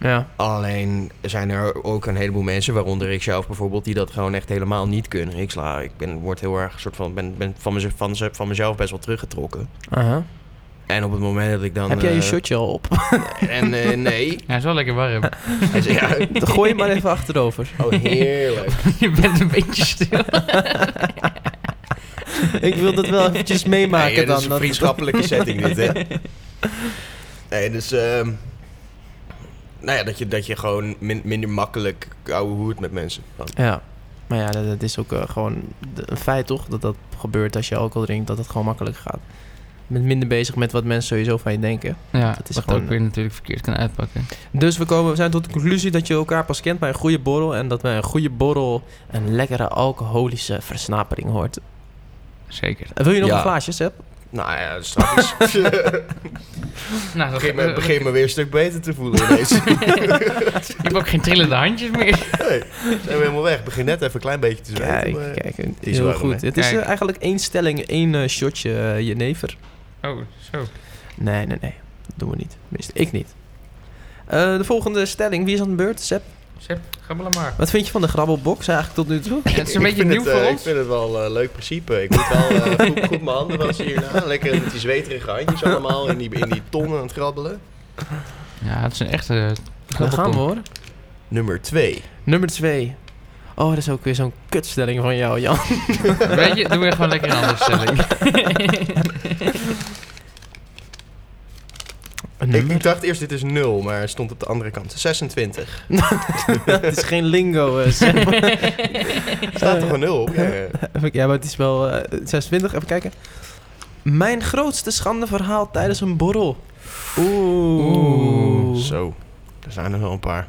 Speaker 3: Ja.
Speaker 4: Alleen zijn er ook een heleboel mensen, waaronder ik zelf bijvoorbeeld, die dat gewoon echt helemaal niet kunnen. Ik sla, ik ben, word heel erg soort van, ben, ben van, mez- van, ze- van mezelf best wel teruggetrokken. En op het moment dat ik dan...
Speaker 3: Heb jij je
Speaker 4: eh,
Speaker 3: shotje al op?
Speaker 4: En eh, nee.
Speaker 2: Ja, is wel lekker warm.
Speaker 4: Hij zei, ja,
Speaker 3: Dan gooi je maar even achterover.
Speaker 4: oh, heerlijk.
Speaker 2: je bent een beetje stil.
Speaker 3: Ik wil dat wel eventjes meemaken
Speaker 4: Nee,
Speaker 3: dan.
Speaker 4: dat is een
Speaker 3: dat-
Speaker 4: vriendschappelijke setting dit, hè? Nee, dus... ehm, nou ja, dat je, dat je gewoon min- minder makkelijk ouwe hoert met mensen. Dan.
Speaker 3: Ja. Maar ja, dat, dat is ook eh, gewoon de- een feit toch? Dat dat gebeurt als je alcohol drinkt, dat het gewoon makkelijk gaat. Je bent minder bezig met wat mensen sowieso van je denken.
Speaker 2: Ja,
Speaker 3: Dat
Speaker 2: dat
Speaker 3: is
Speaker 2: is wat
Speaker 3: gewoon- eh.
Speaker 2: ook weer natuurlijk verkeerd kan uitpakken.
Speaker 3: Dus we, komen, we zijn tot de conclusie dat je elkaar pas kent bij een goede borrel. En dat bij een goede borrel een lekkere alcoholische versnapering hoort.
Speaker 2: Zeker.
Speaker 3: Eh, Wil je nog
Speaker 4: Ja.
Speaker 3: een glaasje, Seb?
Speaker 4: Nou ja, straks
Speaker 2: Nou, dat
Speaker 4: begin, me, begin me weer een stuk beter te voelen ineens.
Speaker 2: Ik heb ook geen trillende handjes meer.
Speaker 4: Hey, zijn we helemaal weg. Begin net even een klein beetje te zweten.
Speaker 3: Kijk,
Speaker 4: maar-
Speaker 3: kijk.
Speaker 4: is
Speaker 3: Heel
Speaker 4: warm,
Speaker 3: goed.
Speaker 4: hè?
Speaker 3: Het is eh,
Speaker 2: Kijk.
Speaker 3: eigenlijk één stelling, één eh, shotje eh, jenever.
Speaker 2: Oh, zo.
Speaker 3: Nee, nee, nee. Dat doen we niet. Tenminste, ik niet. Eh, de volgende stelling. Wie is aan de beurt? Seb?
Speaker 2: Seb, gabbelen maar.
Speaker 3: Wat vind je van de grabbelbox eigenlijk tot nu toe?
Speaker 2: Het is een
Speaker 4: Ik
Speaker 2: beetje
Speaker 4: vind
Speaker 2: nieuw
Speaker 4: het,
Speaker 2: voor
Speaker 4: eh, Ik
Speaker 2: ons.
Speaker 4: vind het wel een leuk principe. Ik moet wel eh, goed, goed mijn handen wassen hierna. Lekker met die zweterige handjes allemaal in die, in die tonnen aan het grabbelen.
Speaker 2: Ja, het is een echte... eh,
Speaker 3: Dan gaan we hoor.
Speaker 4: Nummer 2.
Speaker 3: Nummer twee. Oh, dat is ook weer zo'n kutstelling van jou, Jan.
Speaker 2: Weet je, doen we gewoon lekker een andere stelling.
Speaker 4: Ik, ik dacht eerst dit is 0, maar het stond op de andere kant. 26.
Speaker 3: Het is geen lingo, eh, Seb.
Speaker 4: Er staat toch een 0 op? Eh, Ja, ja.
Speaker 3: Even- Eh, Ja, maar het is wel eh, 26. Even kijken. Mijn grootste schandeverhaal tijdens een borrel. Oeh.
Speaker 2: Oeh.
Speaker 4: Zo, er zijn er wel een paar.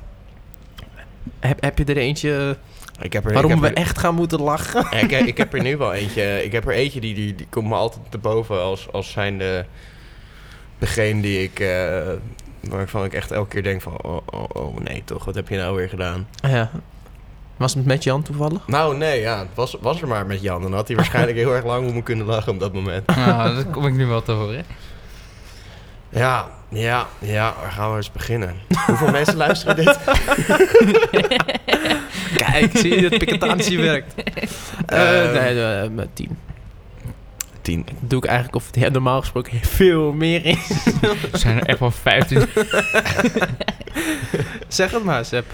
Speaker 3: Heb, heb je er eentje
Speaker 4: Ik heb
Speaker 3: eh,
Speaker 4: er,
Speaker 3: waarom
Speaker 4: ik
Speaker 3: we
Speaker 4: heb er,
Speaker 3: echt gaan moeten lachen?
Speaker 4: ik, heb- ik heb er nu wel eentje. Ik heb er eentje die, die, die komt me altijd te boven als, als zijnde degene die ik... eh, waarvan ik echt elke keer denk van... Oh, oh, oh nee toch, wat heb je nou weer gedaan?
Speaker 3: Ja. Was het met Jan toevallig?
Speaker 4: Nou, nee, ja. Het was, was er maar met Jan. Dan had hij waarschijnlijk heel erg lang om me kunnen lachen op dat moment.
Speaker 2: Nou, dat kom ik nu wel te horen.
Speaker 4: Ja, ja, ja. Waar gaan we eens beginnen? Hoeveel mensen luisteren dit?
Speaker 3: Kijk, zie je dat piketatie werkt? Eh
Speaker 4: Ehm.
Speaker 3: nee, eh, met tien.
Speaker 4: Tien.
Speaker 3: Doe ik eigenlijk of het ja, normaal gesproken veel meer is.
Speaker 2: Er zijn er echt wel 15.
Speaker 3: Zeg het maar, Seb.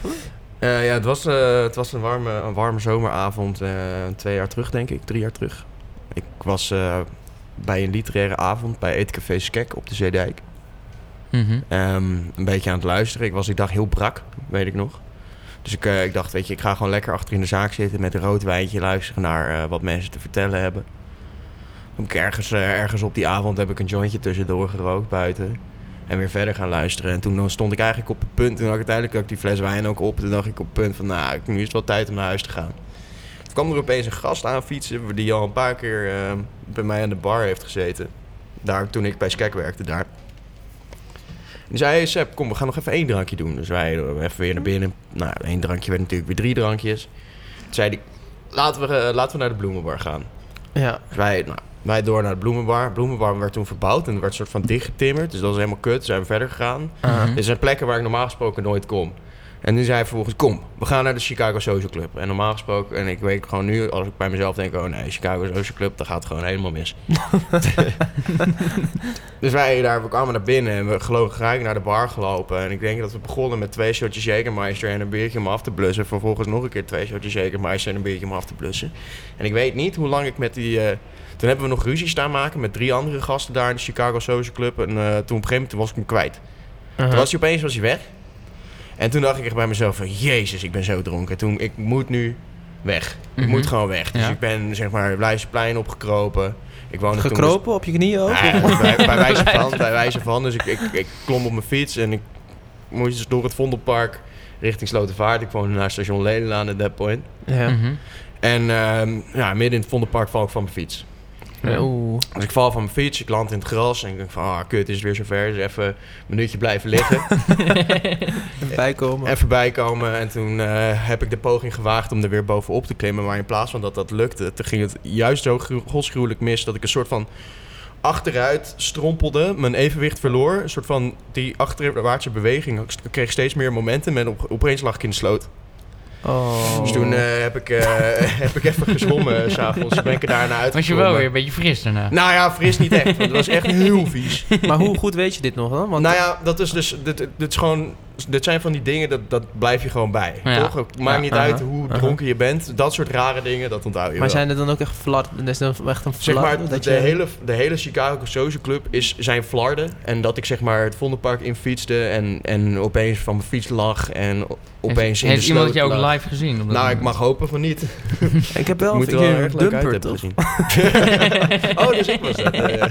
Speaker 4: Eh, ja, het was, eh, het was een, warme, een warme zomeravond. eh, twee jaar terug, denk ik. Drie jaar terug. Ik was eh, bij een literaire avond bij Eetcafé Skek op de Zeedijk.
Speaker 2: Mhm.
Speaker 4: Ehm, een beetje aan het luisteren. Ik was die dag heel brak, weet ik nog. Dus ik, eh, ik dacht, weet je, ik ga gewoon lekker achter in de zaak zitten met een rood wijntje luisteren naar eh, wat mensen te vertellen hebben. Heb ik ergens, eh, ergens op die avond heb ik een jointje tussendoor gerookt buiten. En weer verder gaan luisteren. En toen stond ik eigenlijk op het punt. Toen had ik uiteindelijk ook die fles wijn ook op. Toen dacht ik op het punt van, nou, nu is het wel tijd om naar huis te gaan. Toen kwam er opeens een gast aan fietsen. Die al een paar keer eh, bij mij aan de bar heeft gezeten. Daar, toen ik bij Skek werkte daar. Die zei, hey Sepp, kom, we gaan nog even één drankje doen. Dus wij eh, even weer naar binnen. Nou, één drankje werd natuurlijk weer drie drankjes. Toen zei hij, laten we, eh, laten we naar de bloemenbar gaan.
Speaker 3: Ja.
Speaker 4: Dus wij, nou, wij door naar de bloemenbar. De bloemenbar werd toen verbouwd en werd soort van dichtgetimmerd. Dus dat was helemaal kut. Toen zijn we verder gegaan.
Speaker 2: Mhm.
Speaker 4: Er zijn plekken waar ik normaal gesproken nooit kom. En nu zei hij vervolgens, kom, we gaan naar de Chicago Social Club. En normaal gesproken, en ik weet gewoon nu, als ik bij mezelf denk... oh nee, Chicago Social Club, dat gaat gewoon helemaal mis. dus wij daar, we kwamen naar binnen en we gelogen gelijk naar de bar gelopen. En ik denk dat we begonnen met twee shotjes Jägermeister en een biertje om af te blussen. Vervolgens nog een keer twee shotjes Jägermeister en een biertje om af te blussen. En ik weet niet hoe lang ik met die... eh, toen hebben we nog ruzie staan maken met drie andere gasten daar in de Chicago Social Club. En eh, toen op een gegeven moment was ik hem kwijt.
Speaker 3: Uh-huh.
Speaker 2: Uh-huh.
Speaker 4: Toen was hij opeens was hij weg. En toen dacht ik echt bij mezelf van... Jezus, ik ben zo dronken. Toen, ik moet nu weg. Ik
Speaker 2: Mhm.
Speaker 4: moet gewoon weg. Dus
Speaker 2: Ja.
Speaker 4: ik ben zeg maar Leidseplein opgekropen. Ik woonde toen-
Speaker 3: Gekropen op je knieën ook?
Speaker 4: Dus Ja, bij, bij wijze van, bij wijze van. Dus ik, ik, ik klom op mijn fiets en ik moet je dus door het Vondelpark richting Slotenvaart. Ik woonde naar station Lelylaan at that point.
Speaker 3: Ja.
Speaker 2: Mhm.
Speaker 4: En ehm, ja, midden in het Vondelpark val ik van mijn fiets.
Speaker 2: Ja.
Speaker 3: Oeh.
Speaker 4: Dus ik val van mijn fiets, ik land in het gras en ik denk van, ah, kut, is het weer zover. Dus even een minuutje blijven liggen,
Speaker 3: Even bijkomen.
Speaker 4: even bijkomen. En toen eh, heb ik de poging gewaagd om er weer bovenop te klimmen. Maar in plaats van dat dat lukte, toen ging het juist zo gru- godsgruwelijk mis dat ik een soort van achteruit strompelde, mijn evenwicht verloor. Een soort van die achterwaartse beweging. Ik st- kreeg steeds meer momentum en op, opeens lag ik in de sloot.
Speaker 3: Oh.
Speaker 4: Dus toen eh, heb, ik, eh, heb ik even gezwommen s'avonds. Ben ik er daarna uit.
Speaker 2: Was je wel weer een beetje fris daarna?
Speaker 4: Nou ja, fris niet echt. want Het was echt heel vies.
Speaker 3: Maar hoe goed weet je dit nog dan? Want
Speaker 4: nou ja, dat is dus. Dit, dit- dit, is gewoon, dit zijn van die dingen, dat, dat blijf je gewoon bij.
Speaker 2: Ja.
Speaker 4: Toch? Het maakt
Speaker 2: Ja,
Speaker 4: niet
Speaker 3: aha,
Speaker 4: uit hoe
Speaker 3: aha.
Speaker 4: dronken je bent. Dat soort rare dingen, dat onthoud je
Speaker 3: maar
Speaker 4: wel.
Speaker 3: zijn er dan ook echt flat? Is er dan echt een flat?
Speaker 4: Zeg maar, de,
Speaker 3: dat je-
Speaker 4: hele, de hele Chicago Social Club is zijn flarden. En dat ik zeg maar het Vondelpark in fietste en, en opeens van mijn fiets lag en o-
Speaker 2: Heeft-
Speaker 4: opeens in de
Speaker 2: Heeft iemand
Speaker 4: sloot
Speaker 2: je ook
Speaker 4: lag.
Speaker 2: live gezien? op dat
Speaker 4: Nou, ik
Speaker 2: moment?
Speaker 4: mag hopen van niet.
Speaker 3: Ik heb wel
Speaker 4: Moet
Speaker 3: een
Speaker 4: er wel
Speaker 3: keer een
Speaker 4: erg leuk uit
Speaker 3: dumper, toch?
Speaker 4: hebben gezien. oh, dus ik was dat. ja, ja.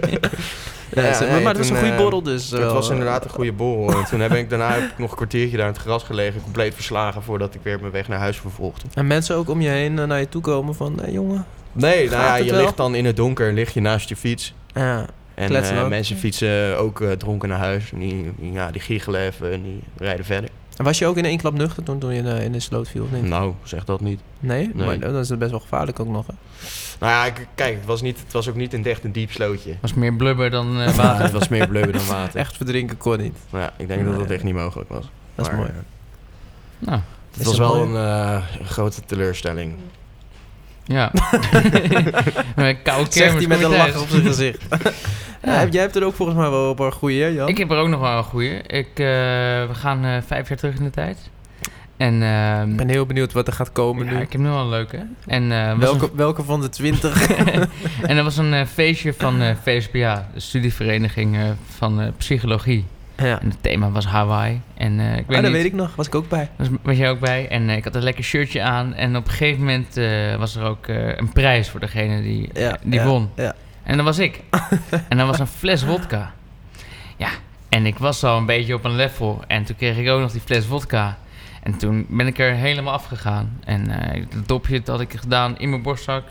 Speaker 3: Ja,
Speaker 4: Ja,
Speaker 3: ze-
Speaker 4: nee,
Speaker 3: maar het was
Speaker 4: toen,
Speaker 3: een goede
Speaker 4: eh,
Speaker 3: borrel dus.
Speaker 4: Het
Speaker 3: wel.
Speaker 4: was inderdaad een goede borrel. En toen heb ik daarna heb ik nog een kwartiertje daar in het gras gelegen, compleet verslagen voordat ik weer mijn weg naar huis vervolgde.
Speaker 3: En mensen ook om je heen eh, naar je toe komen van, hé jongen.
Speaker 4: Nee, nou
Speaker 3: Gaat
Speaker 4: ja,
Speaker 3: het
Speaker 4: je
Speaker 3: wel?
Speaker 4: ligt dan in het donker, lig je naast je fiets.
Speaker 3: Ja.
Speaker 4: En
Speaker 3: Kletsen
Speaker 4: eh,
Speaker 3: ook.
Speaker 4: mensen fietsen ook eh, dronken naar huis. En die, die- ja, die giechelen even en die rijden verder.
Speaker 3: En was je ook in één klap nuchter toen, toen je in de, in de sloot viel of niet?
Speaker 4: Nou, zeg dat niet.
Speaker 3: Nee?
Speaker 4: Nee.
Speaker 3: Maar dan is het best wel gevaarlijk ook nog. Hè?
Speaker 4: Nou ja, k- kijk, het was, niet, het was ook niet een echt een diep slootje.
Speaker 2: Was meer blubber dan eh,
Speaker 4: Ja,
Speaker 2: water.
Speaker 4: het was meer blubber dan water.
Speaker 3: Echt verdrinken kon niet.
Speaker 4: Nou ja, ik denk dat dat echt niet mogelijk was.
Speaker 3: Dat is
Speaker 4: Maar,
Speaker 3: mooi.
Speaker 4: eh,
Speaker 2: nou,
Speaker 4: Het
Speaker 3: Is
Speaker 4: was
Speaker 3: dat
Speaker 4: wel een
Speaker 3: mooi?
Speaker 4: eh, grote teleurstelling.
Speaker 2: ja. Met Koude
Speaker 3: Zegt
Speaker 2: kermis
Speaker 3: hij met
Speaker 2: kom
Speaker 3: een
Speaker 2: je
Speaker 3: lach
Speaker 2: thuis.
Speaker 3: op zijn gezicht. ja. heb- jij hebt er ook volgens mij wel een paar goeie, hè, Jan?
Speaker 2: Ik heb er ook nog wel een goeie. Ik, eh, we gaan eh, vijf jaar terug in de tijd. En ehm,
Speaker 3: Ik ben heel benieuwd wat er gaat komen
Speaker 2: ja,
Speaker 3: nu.
Speaker 2: ik heb nu wel een leuke. En, eh, was
Speaker 3: Welke, welke van de twintig?
Speaker 2: een- en er was een eh, feestje van eh VSBA, de studievereniging eh, van eh, psychologie.
Speaker 3: ja.
Speaker 2: En het thema was Hawaii. En eh, ik weet
Speaker 3: Ah,
Speaker 2: niet,
Speaker 3: dat weet ik nog. Was ik ook bij.
Speaker 2: Was, was jij ook bij? En eh, ik had een lekker shirtje aan. En op een gegeven moment eh, was er ook eh, een prijs voor degene die,
Speaker 3: Ja,
Speaker 2: die
Speaker 3: ja,
Speaker 2: won.
Speaker 3: ja.
Speaker 2: En dat was ik. en dat was een fles wodka. Ja, en ik was al een beetje op een level. En toen kreeg ik ook nog die fles wodka. En toen ben ik er helemaal afgegaan. En eh dat dopje dat had ik gedaan in mijn borstzak.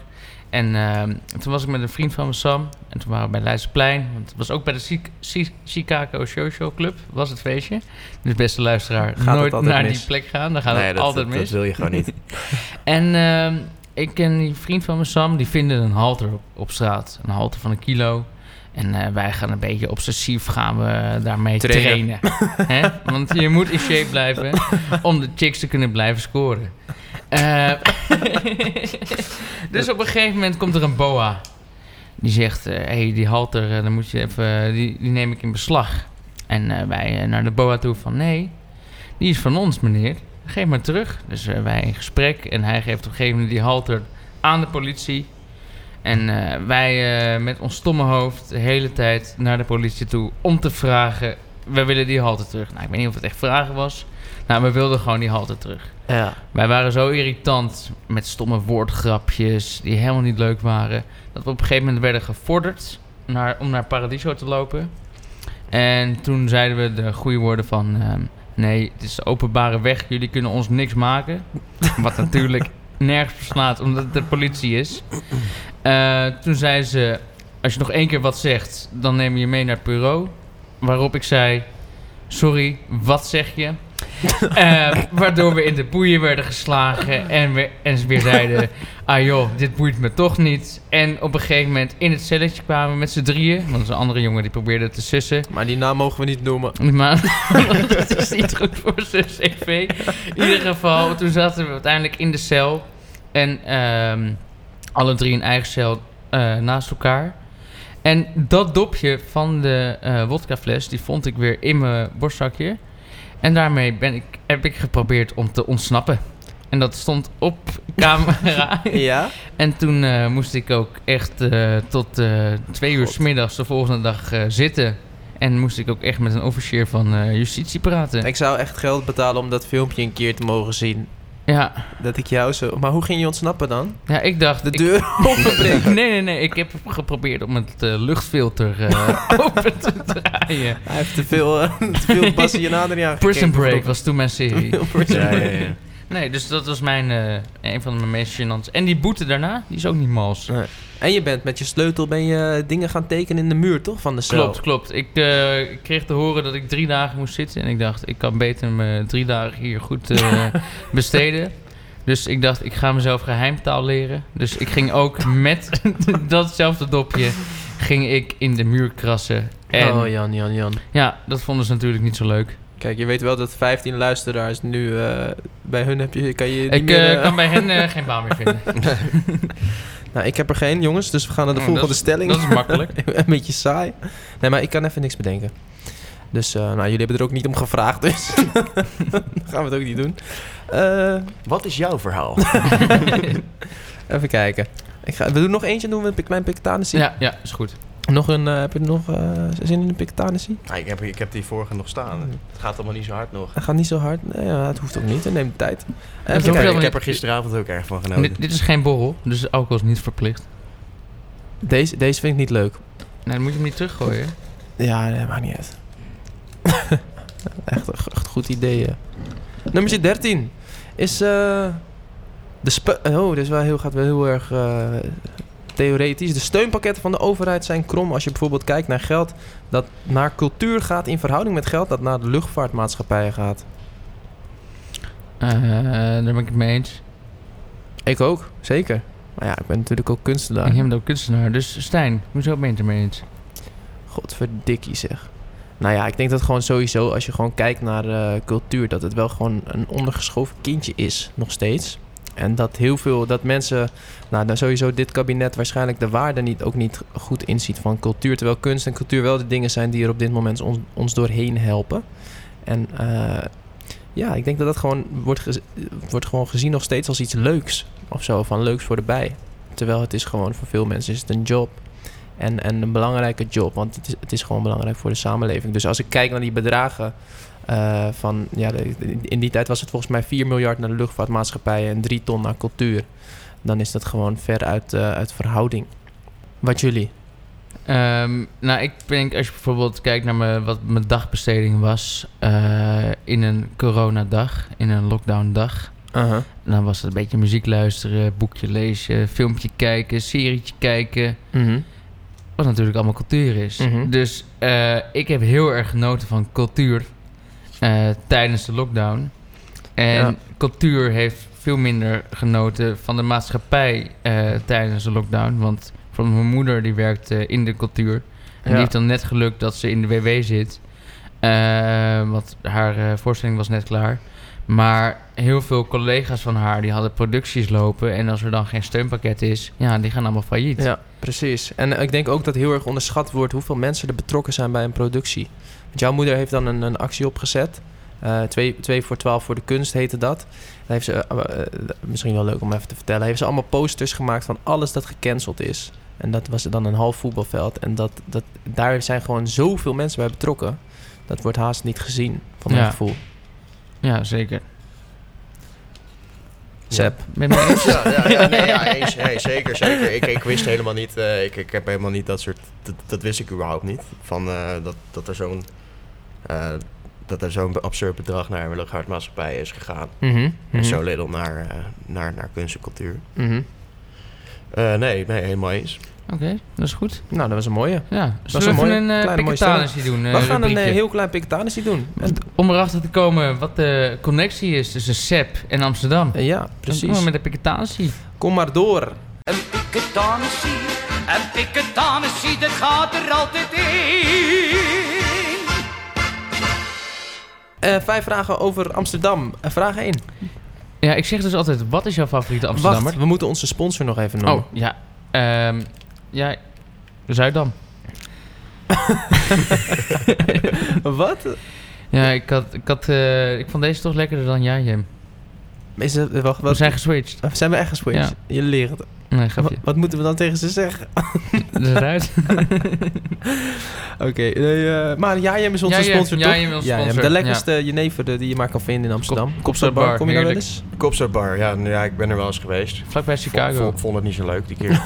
Speaker 2: En eh, toen was ik met een vriend van me, Sam. En toen waren we bij Leidseplein. Want het was ook bij de Chi- Chi- Chicago Social Club, was het feestje. Dus beste luisteraar,
Speaker 3: Gaat het
Speaker 2: nooit
Speaker 3: altijd
Speaker 2: naar
Speaker 3: mis?
Speaker 2: die plek gaan. Dan gaat
Speaker 4: Nee,
Speaker 2: het
Speaker 4: dat,
Speaker 2: altijd
Speaker 4: dat-
Speaker 2: mis.
Speaker 4: dat wil je gewoon niet.
Speaker 2: En ehm, ik en die vriend van me, Sam, die vinden een halter op, op straat. Een halter van een kilo. En eh, wij gaan een beetje obsessief gaan we daarmee trainen.
Speaker 4: Trainen.
Speaker 2: Hè? Want je moet in shape blijven om de chicks te kunnen blijven scoren. Eh, dus op een gegeven moment komt er een boa. Die zegt, hé, hey, die halter, eh, dan moet je even, eh, die, die neem ik in beslag. En eh, wij eh, naar de boa toe van, nee, die is van ons, meneer. Geef maar terug. Dus eh, wij in gesprek en hij geeft op een gegeven moment die halter aan de politie. En eh, wij eh, met ons stomme hoofd de hele tijd naar de politie toe om te vragen... We willen die halter terug. Nou, ik weet niet of het echt vragen was. Nou, we wilden gewoon die halter terug.
Speaker 3: Ja.
Speaker 2: Wij waren zo irritant met stomme woordgrapjes die helemaal niet leuk waren. Dat we op een gegeven moment werden gevorderd naar, om naar Paradiso te lopen. En toen zeiden we de goede woorden van... ehm, nee, het is de openbare weg, jullie kunnen ons niks maken. Wat natuurlijk nergens beslaat, omdat het de politie is. Eh, toen zeiden ze, als je nog één keer wat zegt, dan nemen we je mee naar het bureau. Waarop ik zei, sorry, wat zeg je? Eh, waardoor we in de boeien werden geslagen en, we, en ze weer zeiden... ah joh, dit boeit me toch niet. En op een gegeven moment in het celletje kwamen we met z'n drieën... want een andere jongen die probeerde te sussen.
Speaker 3: Maar die naam mogen we niet noemen.
Speaker 2: Maar dat is niet goed voor zijn cv. In ieder geval, toen zaten we uiteindelijk in de cel. En ehm, alle drie een eigen cel eh, naast elkaar. En dat dopje van de eh wodkafles, die vond ik weer in mijn borstzakje. En daarmee ben ik, heb ik geprobeerd om te ontsnappen. En dat stond op camera.
Speaker 3: Ja?
Speaker 2: En toen eh, moest ik ook echt eh, tot eh, twee uur s middags de volgende dag eh, zitten. En moest ik ook echt met een officier van eh, justitie praten.
Speaker 3: Ik zou echt geld betalen om dat filmpje een keer te mogen zien.
Speaker 2: Ja.
Speaker 3: Dat ik jou zo... Maar hoe ging je ontsnappen dan?
Speaker 2: ja, ik dacht...
Speaker 3: De
Speaker 2: ik-
Speaker 3: deur openbreken.
Speaker 2: Nee, nee, nee. Ik heb geprobeerd om het eh, luchtfilter eh, open te draaien.
Speaker 3: Hij heeft te veel, eh, te veel Bassie en Adriaan
Speaker 2: Prison
Speaker 3: gekeken,
Speaker 2: Break
Speaker 3: geloof
Speaker 2: was toen mijn
Speaker 3: ik.
Speaker 2: serie.
Speaker 3: Prison
Speaker 1: Ja, ja,
Speaker 3: Break.
Speaker 1: ja.
Speaker 2: Nee, dus dat was mijn, eh, een van mijn meest gênants. En die boete daarna, die is ook niet mals.
Speaker 3: En je bent met je sleutel ben je eh, dingen gaan tekenen in de muur, toch? Van de cel.
Speaker 2: Klopt, klopt. Ik eh, ik kreeg te horen dat ik drie dagen moest zitten. En ik dacht, ik kan beter mijn eh, drie dagen hier goed eh, besteden. Dus ik dacht, ik ga mezelf geheimtaal leren. Dus ik ging ook met datzelfde dopje ging ik in de muur krassen. En
Speaker 3: Oh, Jan, Jan, Jan.
Speaker 2: ja, dat vonden ze natuurlijk niet zo leuk.
Speaker 3: Kijk, je weet wel dat 15 luisteraars nu... eh, bij hun heb je, kan je niet
Speaker 2: Ik
Speaker 3: meer,
Speaker 2: eh,
Speaker 3: eh,
Speaker 2: kan bij hen eh, geen baan meer vinden.
Speaker 3: Nou, ik heb er geen, jongens. Dus we gaan naar de
Speaker 2: Oh,
Speaker 3: volgende
Speaker 2: dat is-
Speaker 3: stelling.
Speaker 2: Dat is makkelijk.
Speaker 3: een beetje saai. Nee, maar ik kan even niks bedenken. Dus eh, nou, jullie hebben er ook niet om gevraagd, dus gaan we het ook niet doen. Eh,
Speaker 4: Wat is jouw verhaal?
Speaker 3: even kijken. Ik ga, we doen nog eentje, doen we een pik- mijn Pictanisie.
Speaker 2: Ja, ja, is goed.
Speaker 3: Nog een, eh, heb je nog eh, zin in een Pictanisie?
Speaker 4: Ah, ik, heb, ik heb die vorige nog staan.
Speaker 2: Mm.
Speaker 4: Het gaat allemaal niet zo hard nog.
Speaker 3: Hij gaat niet zo hard. Nee, ja, het hoeft ook niet. Het neemt de tijd. Eh,
Speaker 2: hoeft
Speaker 3: Even
Speaker 2: ook
Speaker 4: Kijk,
Speaker 3: kijken.
Speaker 4: ik heb er gisteravond ook erg van
Speaker 3: Nou,
Speaker 4: genoten.
Speaker 2: Dit, dit is geen borrel, dus alcohol is niet verplicht.
Speaker 3: Deze, deze vind ik niet leuk.
Speaker 2: Nee, dan moet je hem niet teruggooien.
Speaker 3: Ja, nee, maakt niet uit. echt, een- echt een goed idee. ja. Nummertje 13 is. eh, de spe- oh, dit is wel heel, gaat wel heel erg eh, theoretisch. De steunpakketten van de overheid zijn krom als je bijvoorbeeld kijkt naar geld dat naar cultuur gaat in verhouding met geld dat naar de luchtvaartmaatschappijen gaat.
Speaker 2: Eh, daar ben ik het mee eens.
Speaker 3: Ik ook, Mhm. zeker. Maar ja, ik ben natuurlijk ook kunstenaar.
Speaker 2: Ik ben ook kunstenaar, dus Stijn, hoezo ben je het ermee eens?
Speaker 3: Godverdikkie zeg. Nou ja, ik denk dat gewoon sowieso als je gewoon kijkt naar eh, cultuur, dat het wel gewoon een ondergeschoven kindje is, nog steeds. En dat heel veel, dat mensen, nou dan sowieso dit kabinet waarschijnlijk de waarde niet, ook niet goed inziet van cultuur. Terwijl kunst en cultuur wel de dingen zijn die er op dit moment ons, ons doorheen helpen. En eh, ja, ik denk dat dat gewoon wordt, gez- wordt gewoon gezien nog steeds als iets leuks of zo, van leuks voor de bij. Terwijl het is gewoon voor veel mensen is het een job. En, en een belangrijke job, want het is, het is gewoon belangrijk voor de samenleving. Dus als ik kijk naar die bedragen eh, van... Ja, de- in die tijd was het volgens mij 4 miljard naar de luchtvaartmaatschappijen... en 3 ton naar cultuur. Dan is dat gewoon ver uit, eh, uit verhouding. Wat jullie?
Speaker 2: Ehm, nou, ik denk als je bijvoorbeeld kijkt naar mijn, wat mijn dagbesteding was eh, in een coronadag, in een lockdowndag. Dan was het een beetje muziek luisteren, boekje lezen, filmpje kijken, serietje kijken.
Speaker 3: Mhm.
Speaker 2: Wat natuurlijk allemaal cultuur is.
Speaker 3: Mhm.
Speaker 2: Dus eh, ik heb heel erg genoten van cultuur eh, tijdens de lockdown. En
Speaker 3: Ja.
Speaker 2: cultuur heeft veel minder genoten van de maatschappij eh, tijdens de lockdown. Want van mijn moeder die werkt eh, in de cultuur. En die
Speaker 3: Ja.
Speaker 2: heeft dan net geluk dat ze in de WW zit. Eh, want haar eh, voorstelling was net klaar. Maar heel veel collega's van haar die hadden producties lopen. En als er dan geen steunpakket is, ja, die gaan allemaal failliet.
Speaker 3: Ja, precies. En eh, ik denk ook dat heel erg onderschat wordt hoeveel mensen er betrokken zijn bij een productie. Want jouw moeder heeft dan een, een actie opgezet. Eh 2, voor 12 voor de kunst heette dat. Daar heeft ze, eh, eh, misschien wel leuk om even te vertellen, heeft ze allemaal posters gemaakt van alles dat gecanceld is. En dat was dan een half voetbalveld. En dat, dat, daar zijn gewoon zoveel mensen bij betrokken. Dat wordt haast niet gezien, van mijn
Speaker 2: Ja.
Speaker 3: gevoel.
Speaker 2: ja zeker.
Speaker 3: Sepp.
Speaker 2: Ben je het mee eens?
Speaker 4: Ja, ja, ja, nee, ja eens, nee, zeker, zeker. Ik, ik wist helemaal niet, eh, ik, ik heb helemaal niet dat soort, dat, dat wist ik überhaupt niet. Van eh, dat, dat er zo'n, eh, dat er zo'n absurd bedrag naar de luchtvaartmaatschappij is gegaan.
Speaker 3: Mhm,
Speaker 4: En
Speaker 3: mhm,
Speaker 4: zo little naar, eh, naar, naar kunst en cultuur.
Speaker 3: mhm.
Speaker 4: Eh, nee, nee, helemaal eens.
Speaker 2: Oké, dat is goed.
Speaker 3: Nou, dat was een mooie.
Speaker 2: Ja, zullen
Speaker 3: is
Speaker 2: we
Speaker 3: een
Speaker 2: even
Speaker 3: mooie-
Speaker 2: een
Speaker 3: kleine
Speaker 2: eh
Speaker 3: mooie
Speaker 2: pikketanisje doen? eh,
Speaker 3: We gaan een eh,
Speaker 2: rubriekje?
Speaker 3: heel klein pictanisie doen. En-
Speaker 2: Om erachter te komen wat de connectie is tussen SEP en Amsterdam.
Speaker 3: eh, ja,
Speaker 2: Dan doen
Speaker 3: precies.
Speaker 2: we met de pikketanisje.
Speaker 3: Kom maar door.
Speaker 5: Een piketanissie, een piketanissie, dat gaat er altijd in.
Speaker 3: Eh, vijf vragen over Amsterdam. Eh, vraag 1.
Speaker 2: Ja, ik zeg dus altijd, wat is jouw favoriete Amsterdammer?
Speaker 3: Wacht, we moeten onze sponsor nog even noemen.
Speaker 2: Oh, ja. Ehm ja, Zuidam. Oh.
Speaker 3: Wat?
Speaker 2: Ja, ik, had, ik, had, eh, ik vond deze toch lekkerder dan jij, Jim.
Speaker 3: Is het, wacht,
Speaker 2: We
Speaker 3: wat? Eh,
Speaker 2: zijn geswitcht.
Speaker 3: Zijn we echt geswitcht? Je leert het.
Speaker 2: Nee, grapje.
Speaker 3: Wat, wat moeten we dan tegen ze zeggen?
Speaker 2: Dat is eruit.
Speaker 3: Oké, nee, eh, maar jij bent onze
Speaker 2: Ja, ja,
Speaker 3: sponsor,
Speaker 2: ja,
Speaker 3: toch?
Speaker 2: jij bent onze
Speaker 3: Ja,
Speaker 2: sponsor,
Speaker 3: De
Speaker 2: ja.
Speaker 3: lekkerste jenever eh, die je maar kan vinden in Amsterdam.
Speaker 2: Kop- Kopstadbar,
Speaker 3: Kopstadbar, kom je daar wel
Speaker 2: heerlijk.
Speaker 3: eens?
Speaker 4: Kopsterbar, ja, nou ja, ik ben er wel eens geweest.
Speaker 2: Vlakbij
Speaker 4: Ik
Speaker 2: Chicago.
Speaker 4: vond, vond het niet zo leuk die keer.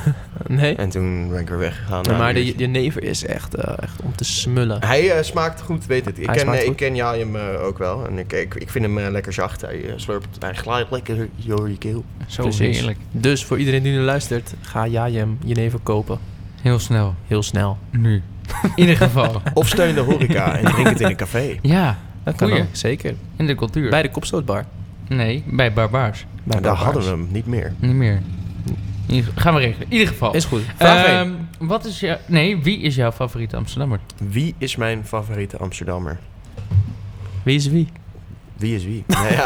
Speaker 3: Nee.
Speaker 4: en toen ben ik weer weggegaan. na
Speaker 3: maar
Speaker 4: een
Speaker 3: de
Speaker 4: uurtje.
Speaker 3: jenever is echt, eh, echt om te smullen.
Speaker 4: Hij eh, smaakt goed, weet het. Ik
Speaker 3: Hij
Speaker 4: ken,
Speaker 3: smaakt
Speaker 4: eh, ik
Speaker 3: goed.
Speaker 4: ken Jaium eh, ook wel. En ik, ik, ik vind hem eh, lekker zacht. Hij eh, slurpt, hij glijdt lekker door je keel.
Speaker 2: Zo
Speaker 3: Precies.
Speaker 2: heerlijk.
Speaker 3: Dus voor iedereen die nu luistert, ga Jajem jenever kopen.
Speaker 2: Heel snel.
Speaker 3: Heel snel.
Speaker 2: Nu. In ieder geval.
Speaker 4: Of steun de horeca en drink het in een
Speaker 3: Nou,
Speaker 4: café.
Speaker 2: Ja.
Speaker 3: Dat kan
Speaker 2: Goeie.
Speaker 3: ook, zeker.
Speaker 2: In de cultuur.
Speaker 3: Bij de Kopstootbar.
Speaker 2: Nee, bij Barbaars.
Speaker 3: Bij
Speaker 4: daar
Speaker 3: Barbaars.
Speaker 4: hadden we hem, niet meer.
Speaker 2: Niet meer. In ieder- Gaan we regelen. In ieder geval.
Speaker 3: Is goed. Vraag één.
Speaker 2: Oh. Ehm, Wat is jouw... Nee, wie is jouw favoriete Amsterdammer?
Speaker 4: Wie is mijn favoriete Amsterdammer?
Speaker 3: Wie is wie?
Speaker 4: Wie is wie? Nou ja,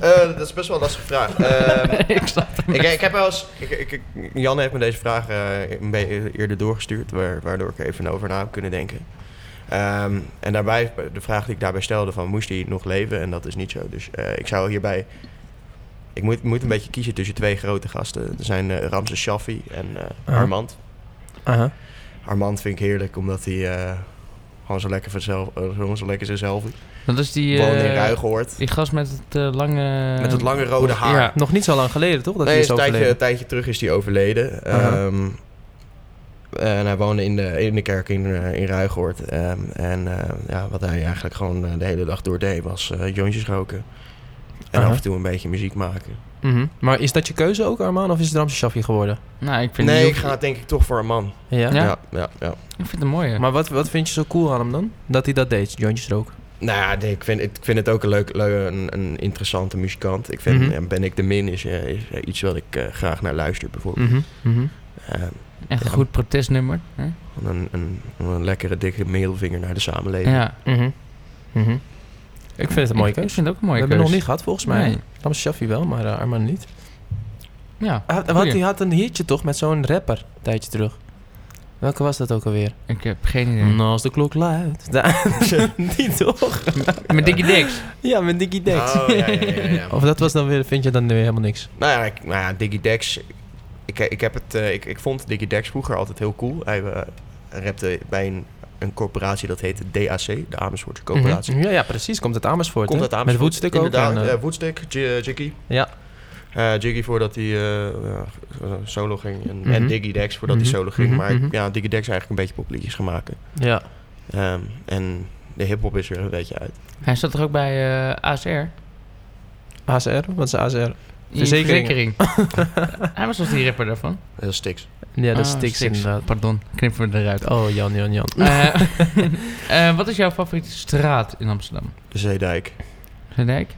Speaker 4: eh, dat is best wel een lastige vraag. Ehm,
Speaker 2: ik snap hem.
Speaker 4: ik, ik heb wel eens, ik, ik, ik- Jan heeft me deze vraag eh, een beetje eerder doorgestuurd, waar- waardoor ik even over na heb kunnen denken. Ehm, en daarbij, de vraag die ik daarbij stelde van, moest hij nog leven? En dat is niet zo. Dus eh, ik zou hierbij, ik moet, moet een beetje kiezen tussen twee grote gasten. Er zijn eh, Ramses Shaffi en eh,
Speaker 3: Ah.
Speaker 4: Armand.
Speaker 3: Aha.
Speaker 4: Armand vind ik heerlijk, omdat hij eh, gewoon zo lekker, vanzelf, eh, gewoon zo lekker zichzelf
Speaker 2: Dat is die...
Speaker 4: woont in
Speaker 2: eh,
Speaker 4: Ruig hoort.
Speaker 2: Die gast met het eh, lange...
Speaker 4: Met het lange rode haar.
Speaker 2: Ja.
Speaker 3: Nog niet zo lang geleden, toch? Dat
Speaker 4: nee,
Speaker 3: hij
Speaker 4: is
Speaker 3: is
Speaker 4: een tijdje,
Speaker 3: overleden.
Speaker 4: een tijdje terug is hij overleden.
Speaker 3: Aha.
Speaker 4: Ehm, en hij woonde in de, in de kerk in, eh, in Ruigoord. Ehm, en eh, ja, wat hij eigenlijk gewoon eh, de hele dag door deed was eh jointjes roken. En
Speaker 3: Aha.
Speaker 4: af en toe een beetje muziek maken.
Speaker 3: Mhm. Maar is dat je keuze ook, Armaan? Of is het Ramses Shaffi geworden?
Speaker 2: Nou, ik vind
Speaker 4: Nee,
Speaker 2: die-
Speaker 4: ik ga denk ik toch voor een man.
Speaker 3: Ja.
Speaker 2: Ja?
Speaker 4: ja, ja, ja.
Speaker 2: Ik vind hem mooi.
Speaker 3: Maar wat, wat vind je zo cool aan hem dan? Dat hij dat deed, jointjes rook.
Speaker 4: Nou ja, nee, ik vind, ik vind het ook een leuk, leuk- een, een interessante muzikant. Ik vind
Speaker 3: Mhm.
Speaker 4: eh, Ben ik de Min is, eh, is eh, iets wat ik eh, graag naar luister bijvoorbeeld.
Speaker 3: Mhm. Mhm.
Speaker 4: Eh,
Speaker 2: Echt een
Speaker 4: Ja.
Speaker 2: goed protestnummer. hè?
Speaker 4: een, een, een lekkere dikke middelvinger naar de samenleving.
Speaker 2: Ja.
Speaker 3: Mhm. Mhm. Ik vind het een mooie
Speaker 2: Ik, ik
Speaker 3: keuze.
Speaker 2: vind het ook een mooie
Speaker 3: we hebben
Speaker 2: keuze.
Speaker 3: nog niet gehad, volgens mij.
Speaker 2: Nee.
Speaker 3: Ramses Shaffi wel, maar eh, Armaan niet.
Speaker 2: Ja,
Speaker 3: Hij had,
Speaker 2: Goeie.
Speaker 3: hij had een hitje toch met zo'n rapper een tijdje terug. Welke was dat ook alweer?
Speaker 2: ik heb geen idee.
Speaker 3: Nou, Als de klok luidt. Die toch?
Speaker 2: Met Dickie Dix.
Speaker 3: Ja, met Nicky Dex.
Speaker 4: Oh, ja, ja, ja, ja.
Speaker 3: Of dat was dan weer, vind je dan weer helemaal niks?
Speaker 4: Nou ja, ik, nou ja Diggy Dex. Ik, ik, heb het, eh, ik, ik vond Diggy Dex vroeger altijd heel cool. Hij eh, rapte bij een, een corporatie dat heette DAC, de Amersfoortse Corporatie.
Speaker 3: Mhm. Ja, ja, precies. Komt uit Amersfoort.
Speaker 4: Komt
Speaker 3: hè?
Speaker 4: uit Amersfoort.
Speaker 3: Met Woodstick ook.
Speaker 4: inderdaad.
Speaker 3: en, eh,
Speaker 4: Ja, Woodstick, J- eh, Jiggy.
Speaker 3: Ja.
Speaker 4: Eh, Jiggy voordat hij eh, ja, solo ging. En,
Speaker 3: Mhm.
Speaker 4: en Diggy Dex voordat
Speaker 3: Mhm.
Speaker 4: hij solo ging.
Speaker 3: Mhm,
Speaker 4: Maar
Speaker 3: mhm.
Speaker 4: ja, Diggy Dex eigenlijk een beetje popliedjes gaan maken.
Speaker 3: ja.
Speaker 4: Ehm, en de hip-hop is weer een beetje uit.
Speaker 2: Hij zat toch ook bij eh, ASR?
Speaker 3: ASR? Wat is ASR?
Speaker 2: Die
Speaker 3: Verzekeringen.
Speaker 2: verzekering. Hij was als die rapper daarvan.
Speaker 4: Dat is Stix.
Speaker 3: Ja, dat
Speaker 2: Ah,
Speaker 3: is Stix
Speaker 2: Styx.
Speaker 3: inderdaad.
Speaker 2: Pardon, knippen we eruit.
Speaker 3: Oh, Jan, Jan, Jan.
Speaker 2: Eh, eh, wat is jouw favoriete straat in Amsterdam?
Speaker 4: De Zeedijk.
Speaker 2: Dijk?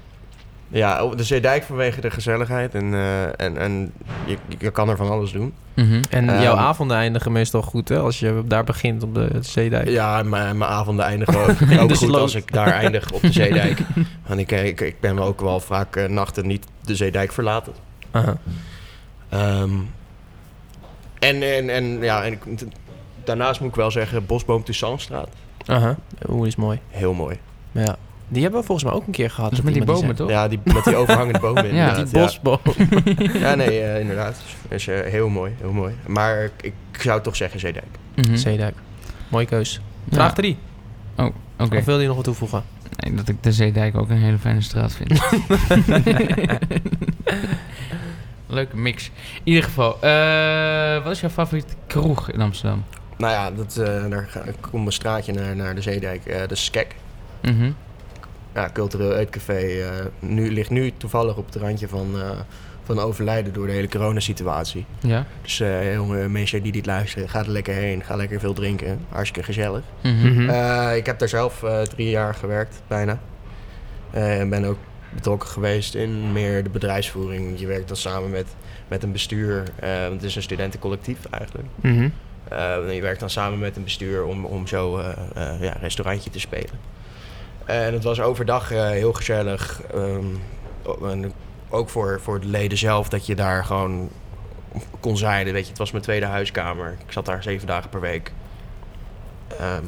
Speaker 4: Ja, oh, de Zeedijk vanwege de gezelligheid. En, eh, en, en je, je kan er van alles doen.
Speaker 2: Mhm.
Speaker 3: En
Speaker 4: Ehm,
Speaker 3: jouw avonden eindigen meestal goed, hè? Als je daar begint op de Zeedijk.
Speaker 4: Ja, mijn mijn avonden eindigen ook, ook
Speaker 3: De
Speaker 4: goed
Speaker 3: sloot.
Speaker 4: als ik daar eindig op de Zeedijk. Want ik, eh, ik, ik ben ook wel vaak eh, nachten niet de Zeedijk verlaten.
Speaker 3: Aha.
Speaker 4: Ehm, en, en, en, ja, en ik- daarnaast moet ik wel zeggen, Bosboom Toussaintstraat.
Speaker 3: Aha. Oeh, die is mooi.
Speaker 4: Heel mooi.
Speaker 3: Ja. Die hebben we volgens mij ook een keer gehad.
Speaker 2: Dat is met die
Speaker 3: iemand
Speaker 2: bomen, toch?
Speaker 4: Ja, die, met die overhangende bomen
Speaker 2: Ja,
Speaker 4: inderdaad.
Speaker 3: zei- Die
Speaker 4: ja.
Speaker 3: bosboom.
Speaker 4: Ja, nee, eh, inderdaad. Is eh, heel mooi, heel mooi. Maar ik, ik zou toch zeggen Zeedijk.
Speaker 2: Mhm.
Speaker 3: Zeedijk. Mooie keus.
Speaker 2: Ja,
Speaker 3: Vraag 3.
Speaker 2: Oké,
Speaker 3: Of wilde je nog wat toevoegen?
Speaker 2: Nee, dat ik de Zeedijk ook een hele fijne straat vind. Leuke mix. In ieder geval, eh, wat is jouw favoriete kroeg in Amsterdam?
Speaker 4: Nou ja, dat, eh, daar ga, ik kom een straatje naar, naar de Zeedijk. eh de Skek.
Speaker 2: Mhm.
Speaker 4: Ja, cultureel eetcafé. eh, nu, ligt nu toevallig op het randje van, eh, van overlijden door de hele coronasituatie.
Speaker 2: Ja.
Speaker 4: Dus eh, jonge mensen die dit luisteren, ga er lekker heen. Ga lekker veel drinken. Hartstikke gezellig.
Speaker 2: Mhm.
Speaker 4: Eh, ik heb daar zelf eh, drie jaar gewerkt, bijna. Eh, en ben ook betrokken geweest in meer de bedrijfsvoering. Je werkt dan samen met, met een bestuur. Eh, het is een studentencollectief eigenlijk.
Speaker 3: Mhm.
Speaker 4: Eh, en je werkt dan samen met een bestuur om, om zo eh eh, ja, een restaurantje te spelen. En het was overdag eh, heel gezellig. ehm, o- en ook voor, voor de leden zelf dat je daar gewoon kon zijn. Weet je, het was mijn tweede huiskamer. Ik zat daar zeven dagen per week. Ehm,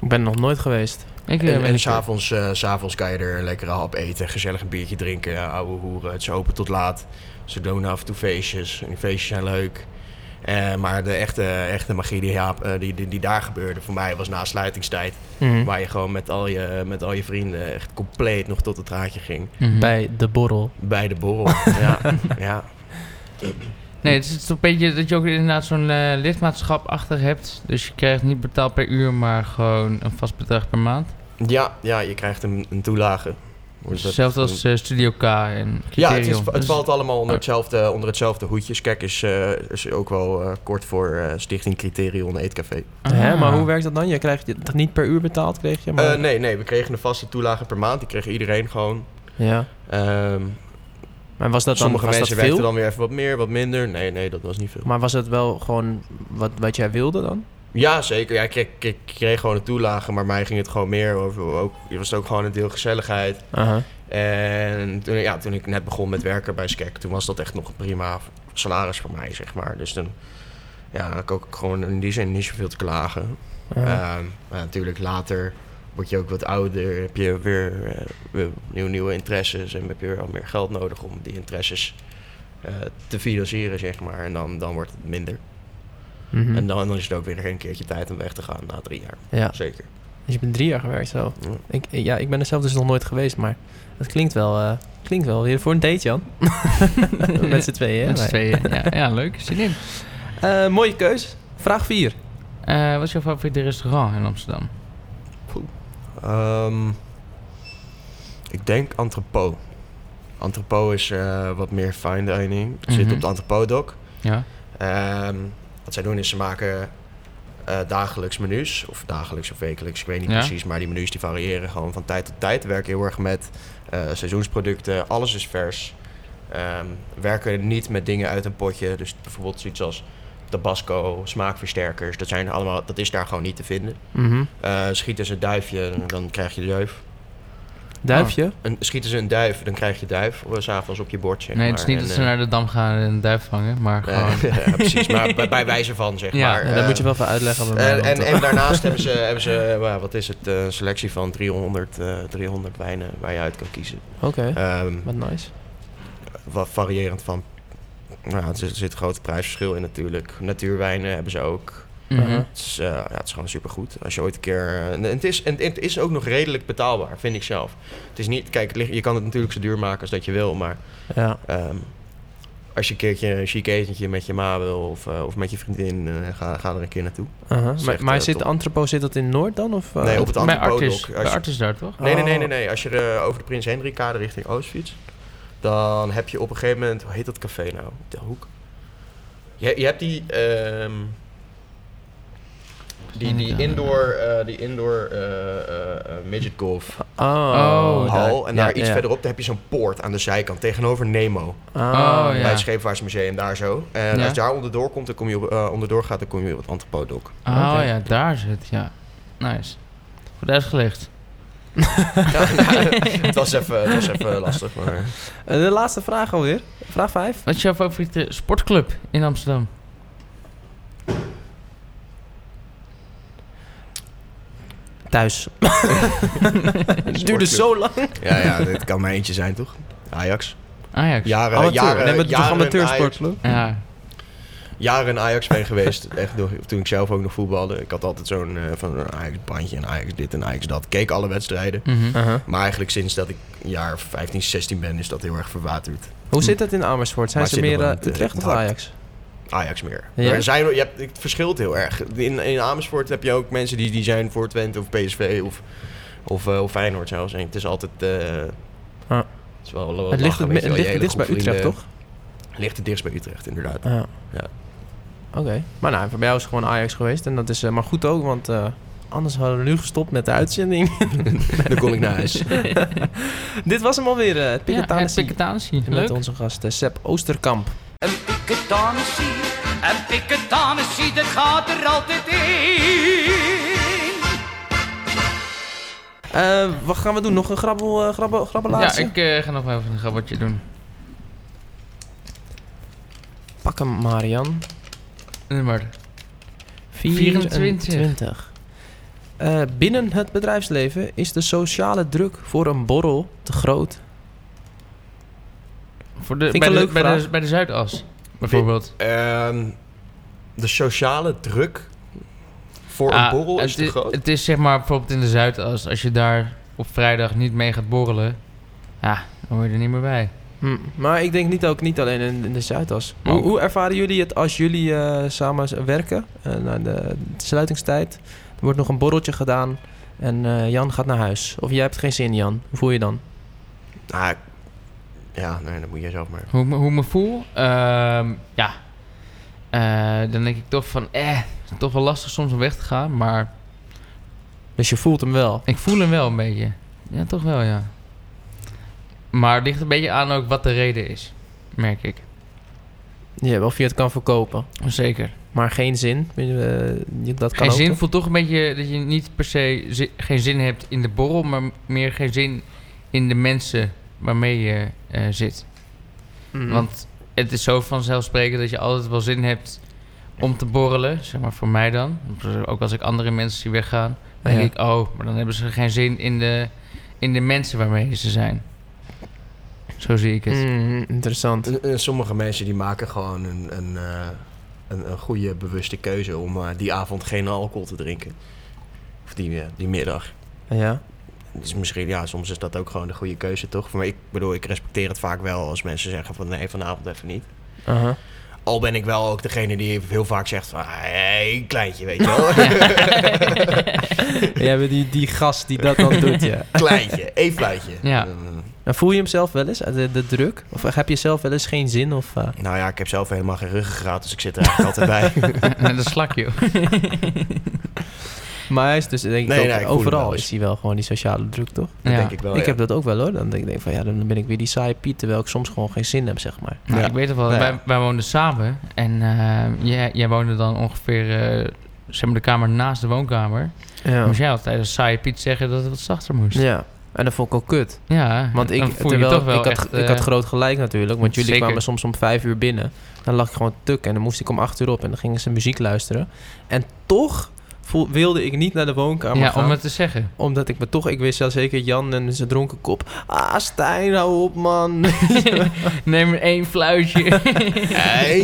Speaker 3: Ik ben er nog nooit geweest.
Speaker 2: Ik, eh,
Speaker 4: En,
Speaker 2: ben
Speaker 4: en
Speaker 2: er-
Speaker 4: s'avonds eh, s'avonds kan je er een lekkere hap eten, gezellig een biertje drinken, ja, ouwe hoeren. Het is open tot laat. Ze doen af en toe feestjes. En die feestjes zijn leuk. Eh, maar de echte, echte magie die, Jaap, eh, die, die, die daar gebeurde voor mij was na sluitingstijd.
Speaker 2: Hm.
Speaker 3: Mhm.
Speaker 4: Waar je gewoon met al je, met al je vrienden echt compleet nog tot het raadje ging.
Speaker 2: Mhm.
Speaker 3: Bij de borrel.
Speaker 4: Bij de borrel. ja, ja.
Speaker 2: Nee, het is toch een beetje dat je ook inderdaad zo'n eh lidmaatschap achter hebt. Dus je krijgt niet betaald per uur, maar gewoon een vast bedrag per maand.
Speaker 4: Ja, ja, je krijgt een, een toelage. Dus dat-
Speaker 2: Hetzelfde als eh, Studio K en
Speaker 4: Ja, het, is,
Speaker 2: Criterion.
Speaker 4: het
Speaker 2: Dus-
Speaker 4: valt allemaal onder hetzelfde, onder hetzelfde hoedje. Skek is, eh, is ook wel eh, kort voor eh, Stichting Criterion Eetcafé.
Speaker 2: Ah.
Speaker 4: Eh,
Speaker 3: Hè, maar hoe werkt dat dan? Je krijgt je, niet per uur betaald, kreeg je? Maar...
Speaker 4: Eh, nee, nee, we kregen een vaste toelage per maand. Die kreeg iedereen gewoon.
Speaker 3: Ja.
Speaker 4: Ehm,
Speaker 3: Maar was dat
Speaker 4: sommige
Speaker 3: dan, was
Speaker 4: mensen
Speaker 3: dat
Speaker 4: werkten
Speaker 3: veel?
Speaker 4: dan weer even wat meer, wat minder. Nee, nee, dat was niet veel.
Speaker 3: Maar was het wel gewoon wat, wat jij wilde dan?
Speaker 4: Ja, zeker. Ja, ik, kreeg- ik, ik kreeg gewoon een toelage, maar mij ging het gewoon meer over. Ook, het was ook gewoon een deel gezelligheid. En toen, ja, toen ik net begon met werken bij Skek, toen was dat echt nog een prima salaris voor mij, zeg maar. Dus toen ja, had ik ook gewoon in die zin niet zoveel te klagen. Ehm, maar natuurlijk later word je ook wat ouder, heb je weer, eh, weer nieuwe, nieuwe interesses en heb je weer al meer geld nodig om die interesses eh, te financieren, zeg maar. En dan, dan wordt het minder.
Speaker 3: Mhm.
Speaker 4: En dan, dan is het ook weer een keertje tijd om weg te gaan na drie jaar.
Speaker 3: Ja.
Speaker 4: Zeker.
Speaker 3: Dus je bent drie jaar gewerkt zo.
Speaker 4: Ja.
Speaker 3: Ik, ja, ik ben er zelf dus nog nooit geweest, maar het klinkt wel, eh, klinkt wel weer voor een date, Jan. Met z'n tweeën, hè?
Speaker 2: Met z'n tweeën. ja, ja, leuk. Zin in.
Speaker 3: Eh, mooie keus. Vraag 4.
Speaker 2: Eh, wat is jouw favoriete restaurant in Amsterdam?
Speaker 4: Ehm, ik denk Antropo. Antropo is eh, wat meer fine dining. Het zit
Speaker 2: Mhm.
Speaker 4: op de Antropo-doc.
Speaker 2: Ja.
Speaker 4: Ehm, wat zij doen is ze maken eh, dagelijks menus. Of dagelijks of wekelijks, ik weet niet
Speaker 2: Ja.
Speaker 4: precies. Maar die menus die variëren gewoon van tijd tot tijd. Werken heel erg met eh, seizoensproducten. Alles is vers. Ehm, werken niet met dingen uit een potje. Dus bijvoorbeeld zoiets als tabasco, smaakversterkers. Dat, zijn allemaal, dat is daar gewoon niet te vinden.
Speaker 2: Mhm.
Speaker 4: Eh, schieten ze een duifje, dan krijg je duif.
Speaker 3: Duifje.
Speaker 4: En schieten ze een duif, dan krijg je duif. eh, S'avonds op je bord, zeg
Speaker 2: Nee, het is
Speaker 4: maar.
Speaker 2: niet
Speaker 4: En,
Speaker 2: dat ze
Speaker 4: eh,
Speaker 2: naar de dam gaan en een duif vangen, maar gewoon...
Speaker 4: eh, ja, precies, maar bij, bij wijze van, zeg
Speaker 2: Ja,
Speaker 4: maar.
Speaker 3: Ja, dat
Speaker 4: Eh,
Speaker 3: moet je wel even uitleggen. bij mij,
Speaker 4: en,
Speaker 3: want
Speaker 4: en,
Speaker 3: dat-
Speaker 4: en daarnaast hebben ze, hebben ze eh, nou, wat is het, eh, een selectie van 300, eh, 300 wijnen waar je uit kan kiezen.
Speaker 3: Oké,
Speaker 4: Ehm,
Speaker 3: wat nice.
Speaker 4: wat varierend van, nou, er zit, er zit een groot prijsverschil in natuurlijk. Natuurwijnen hebben ze ook.
Speaker 2: mhm.
Speaker 4: Het is, eh, ja, het is gewoon supergoed. Als je ooit een keer... eh, en het, is, en het is ook nog redelijk betaalbaar, vind ik zelf. Het is niet... Kijk, het ligt- je kan het natuurlijk zo duur maken als dat je wil, maar...
Speaker 3: Ja.
Speaker 4: Ehm, als je een keertje een chic etentje met je ma wil of, eh, of met je vriendin, eh, ga, ga er een keer naartoe.
Speaker 3: Uh-huh.
Speaker 4: is
Speaker 3: Maar,
Speaker 4: echt,
Speaker 3: maar
Speaker 4: eh,
Speaker 3: zit
Speaker 4: top.
Speaker 3: Antropo, zit dat in Noord dan? Of, eh,
Speaker 4: Nee, op het
Speaker 2: Bij
Speaker 4: andere
Speaker 2: Artis.
Speaker 4: podok.
Speaker 2: Bij
Speaker 4: Als je-
Speaker 2: Artis daar, toch?
Speaker 4: Nee, nee, nee, nee,
Speaker 3: Oh.
Speaker 4: nee. Als je eh, over de Prins Hendrikkade richting Oost fietst, dan heb je op een gegeven moment, hoe heet dat café nou? Op De hoek. Je, je hebt die, ehm, die, die indoor, eh, die indoor eh, eh, eh, midget golf
Speaker 3: Oh,
Speaker 2: Oh,
Speaker 3: daar-
Speaker 4: hal. En
Speaker 3: ja,
Speaker 4: daar iets
Speaker 3: ja.
Speaker 4: verderop, daar heb je zo'n poort aan de zijkant tegenover Nemo.
Speaker 3: Ah,
Speaker 2: Oh,
Speaker 4: Bij
Speaker 2: ja.
Speaker 4: het Scheepvaartsmuseum daar zo. En
Speaker 2: Ja.
Speaker 4: als je daar onderdoor komt, dan kom je op, eh, onderdoor gaat, dan kom je op het Antropodok.
Speaker 2: Oh
Speaker 3: Oké.
Speaker 2: ja, daar zit, ja. Nice. Goed uitgelegd.
Speaker 4: ja, nou, het, was even, het was even lastig, maar...
Speaker 3: Eh, De laatste vraag alweer. Vraag 5.
Speaker 2: Wat is jouw favoriete sportclub in Amsterdam?
Speaker 3: Thuis. Het duurde zo lang.
Speaker 4: Ja, ja, dit kan maar eentje zijn, toch? Ajax.
Speaker 2: Ajax.
Speaker 4: Jaren,
Speaker 3: Amateur.
Speaker 4: jaren,
Speaker 3: nee, maar toch
Speaker 4: jaren, in Ajax,
Speaker 3: amateursportclub?
Speaker 2: Ja.
Speaker 4: jaren in Ajax ben geweest. Echt door, toen ik zelf ook nog voetbalde. Ik had altijd zo'n eh, van een Ajax bandje en Ajax dit en Ajax dat. Keek alle wedstrijden.
Speaker 2: mhm.
Speaker 3: Uh-huh.
Speaker 4: Maar eigenlijk sinds dat ik een jaar 15, 16 ben, is dat heel erg verwaterd.
Speaker 3: Hoe zit dat in Amersfoort? Zijn
Speaker 4: Maar
Speaker 3: ze
Speaker 4: het zit
Speaker 3: meer
Speaker 4: nog
Speaker 3: eh,
Speaker 4: wel in het, eh,
Speaker 3: Utrecht of
Speaker 4: hart.
Speaker 3: Ajax?
Speaker 4: Ajax meer.
Speaker 3: Ja?
Speaker 4: Er zijn, je hebt, het verschilt heel erg. In, in Amersfoort heb je ook mensen die, die zijn voor Twente of PSV of, of, eh, of Feyenoord zelfs. En het is altijd... eh,
Speaker 3: Ah.
Speaker 4: Het, is wel, wel
Speaker 3: Het ligt,
Speaker 4: lachen,
Speaker 3: het,
Speaker 4: weet je
Speaker 3: het
Speaker 4: wel.
Speaker 3: ligt
Speaker 4: Je hele
Speaker 3: het dichtst bij
Speaker 4: groep
Speaker 3: Utrecht,
Speaker 4: vrienden-
Speaker 3: toch?
Speaker 4: Ligt het dichtst bij Utrecht, inderdaad.
Speaker 3: Ja.
Speaker 4: Ja.
Speaker 3: Oké. Maar nou, voor bij jou is het gewoon Ajax geweest. En dat is eh, maar goed ook, want eh, anders hadden we nu gestopt met de uitzending.
Speaker 4: Dan kon ik naar huis.
Speaker 3: Dit was hem alweer, eh het
Speaker 2: Ja,
Speaker 3: Piketanissie.
Speaker 2: Piketanissie.
Speaker 3: En met
Speaker 2: Leuk.
Speaker 3: onze gast eh, Sepp Oosterkamp.
Speaker 5: Een piketanissie, een piketanissie, dat gaat er altijd in.
Speaker 3: Eh, wat gaan we doen? Nog een grabbel, eh, grabbel,
Speaker 2: Ja,
Speaker 3: grabbelaartje?
Speaker 2: ik eh, ga nog wel even een grabbeltje doen.
Speaker 3: Pak hem, Marian.
Speaker 2: Nummer.
Speaker 3: 24. Eh, binnen het bedrijfsleven is de sociale druk voor een borrel te groot.
Speaker 2: Voor de,
Speaker 3: Vind ik
Speaker 2: bij,
Speaker 3: een
Speaker 2: de,
Speaker 3: leuke
Speaker 2: bij, de,
Speaker 3: vraag.
Speaker 2: bij de Zuidas, bijvoorbeeld.
Speaker 4: Ehm, de sociale druk voor
Speaker 2: Ah,
Speaker 4: een borrel is
Speaker 2: het,
Speaker 4: te groot.
Speaker 2: het is zeg maar bijvoorbeeld in de Zuidas, als je daar op vrijdag niet mee gaat borrelen, ja, dan hoor je er niet meer bij.
Speaker 3: Hm, Maar ik denk niet, ook niet alleen in, in de Zuidas.
Speaker 2: Oh.
Speaker 3: Hoe, hoe ervaren jullie het als jullie eh, samen z- werken? Eh, na de sluitingstijd. Er wordt nog een borreltje gedaan. En eh, Jan gaat naar huis. Of jij hebt geen zin, Jan. Hoe voel je dan?
Speaker 4: Ah, ja, nee, dat moet jij zelf maar.
Speaker 2: Hoe, ik me- hoe ik me voel? Ehm, ja. Eh, dan denk ik toch van, eh, het is toch wel lastig soms om weg te gaan, maar
Speaker 3: Dus je voelt hem wel.
Speaker 2: ik voel hem wel een beetje. Ja, toch wel, ja. Maar het ligt een beetje aan ook wat de reden is, merk ik.
Speaker 3: Ja, of je het kan verkopen.
Speaker 2: Zeker.
Speaker 3: Maar geen zin. Eh, je- dat kan
Speaker 2: Geen
Speaker 3: ook,
Speaker 2: zin
Speaker 3: toch?
Speaker 2: voelt toch een beetje dat je niet per se zi- geen zin hebt in de borrel, maar m- meer geen zin in de mensen waarmee je eh, zit.
Speaker 3: Mm.
Speaker 2: Want het is zo vanzelfsprekend dat je altijd wel zin hebt om te borrelen, zeg maar voor mij dan. Ook als ik andere mensen zie weggaan, dan
Speaker 3: Ja.
Speaker 2: denk ik, oh, maar dan hebben ze geen zin in de, in de mensen waarmee ze zijn. Zo zie ik het.
Speaker 3: Mm, interessant.
Speaker 4: En- en sommige mensen die maken gewoon een, een, eh, een, een goede bewuste keuze om eh, die avond geen alcohol te drinken. Of die, eh, die middag.
Speaker 3: Ja.
Speaker 4: Dus misschien, ja, soms is dat ook gewoon de goede keuze, toch? Maar ik bedoel, ik respecteer het vaak wel als mensen zeggen van nee, vanavond even niet.
Speaker 3: Aha.
Speaker 4: Al ben ik wel ook degene die heel vaak zegt van, "Ah, hey, kleintje, weet je wel.
Speaker 3: Jij bent die, die gast die dat dan doet, ja.
Speaker 4: kleintje, één fluitje.
Speaker 2: Ja.
Speaker 4: Mm.
Speaker 3: En voel je hem zelf wel eens, eh, de, de druk? Of heb je zelf wel eens geen zin? Of, eh,
Speaker 4: nou ja, ik heb zelf helemaal geen ruggengraat, dus ik zit er eigenlijk altijd bij.
Speaker 2: Met een slakje.
Speaker 3: Maar hij is dus denk ik
Speaker 4: Nee,
Speaker 3: ook-
Speaker 4: nee, ik voel hem wel
Speaker 3: overal
Speaker 4: eens.
Speaker 3: is hij wel gewoon die sociale druk, toch?
Speaker 4: Dat
Speaker 2: Ja.
Speaker 4: denk ik wel,
Speaker 3: ik
Speaker 4: ja.
Speaker 3: heb dat ook wel hoor. Dan denk ik van ja, dan ben ik weer die saaie Piet, terwijl ik soms gewoon geen zin heb, zeg maar.
Speaker 2: Nou,
Speaker 4: Ja.
Speaker 2: Ik weet het wel,
Speaker 4: Nou ja.
Speaker 2: wij, wij woonden samen en eh, jij, jij woonde dan ongeveer eh, zeg maar de kamer naast de woonkamer.
Speaker 3: Ja.
Speaker 2: Moest jij altijd als saaie Piet zeggen dat het wat zachter moest. Ja,
Speaker 3: ja. En dat vond ik ook kut. Want ik,
Speaker 2: dan voel je
Speaker 3: terwijl,
Speaker 2: toch wel
Speaker 3: ik, had,
Speaker 2: echt,
Speaker 3: ik had
Speaker 2: eh,
Speaker 3: groot gelijk natuurlijk, want jullie
Speaker 2: Zeker.
Speaker 3: kwamen soms om vijf uur binnen. Dan lag ik gewoon tuk en dan moest ik om acht uur op en dan gingen ze muziek luisteren. En toch voel- wilde ik niet naar de woonkamer
Speaker 2: ja,
Speaker 3: gaan.
Speaker 2: om het te zeggen.
Speaker 3: Omdat ik me toch, ik wist wel zeker Jan en zijn dronken kop. Ah, Stijn, hou op man.
Speaker 2: Neem er één fluitje.
Speaker 4: Eén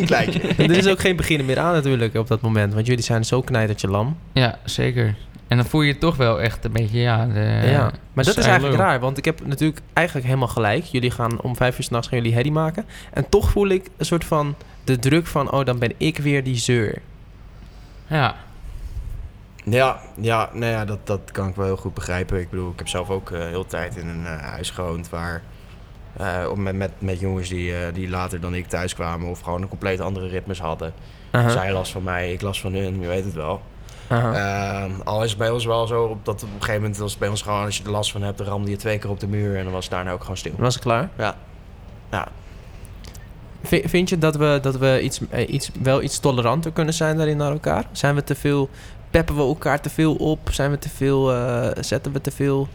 Speaker 4: Eh, kleintje.
Speaker 3: er is ook geen beginnen meer aan natuurlijk op dat moment, want jullie zijn zo knijtertje lam.
Speaker 2: ja, zeker. En dan voel je toch wel echt een beetje, ja... De,
Speaker 3: ja, maar dat is
Speaker 2: saai
Speaker 3: eigenlijk
Speaker 2: lul.
Speaker 3: raar, want ik heb natuurlijk eigenlijk helemaal gelijk. Jullie gaan om vijf uur s'nachts gaan jullie herrie maken. En toch voel ik een soort van de druk van, oh, dan ben ik weer die zeur.
Speaker 2: Ja,
Speaker 4: Ja, ja, nou ja dat, dat kan ik wel heel goed begrijpen. Ik bedoel, ik heb zelf ook eh, heel de tijd in een eh, huis gewoond waar. eh, op- met, met, met jongens die, eh, die later dan ik thuis kwamen of gewoon een compleet andere ritmes hadden.
Speaker 3: Aha,
Speaker 4: Zij last van mij, ik last van hun, je weet het wel.
Speaker 3: aha.
Speaker 4: Ehm, al is het bij ons wel zo op dat op een gegeven moment was het bij ons gewoon, als je er last van hebt, dan ramde je twee keer op de muur en dan was het daarna ook gewoon stil.
Speaker 3: Dan was ik klaar.
Speaker 4: Ja. Ja.
Speaker 3: Vi- vind je dat we, dat we iets, eh, iets, wel iets toleranter kunnen zijn daarin naar elkaar? Zijn we te veel, peppen we elkaar te veel op? Zijn we te veel, eh, zetten we te veel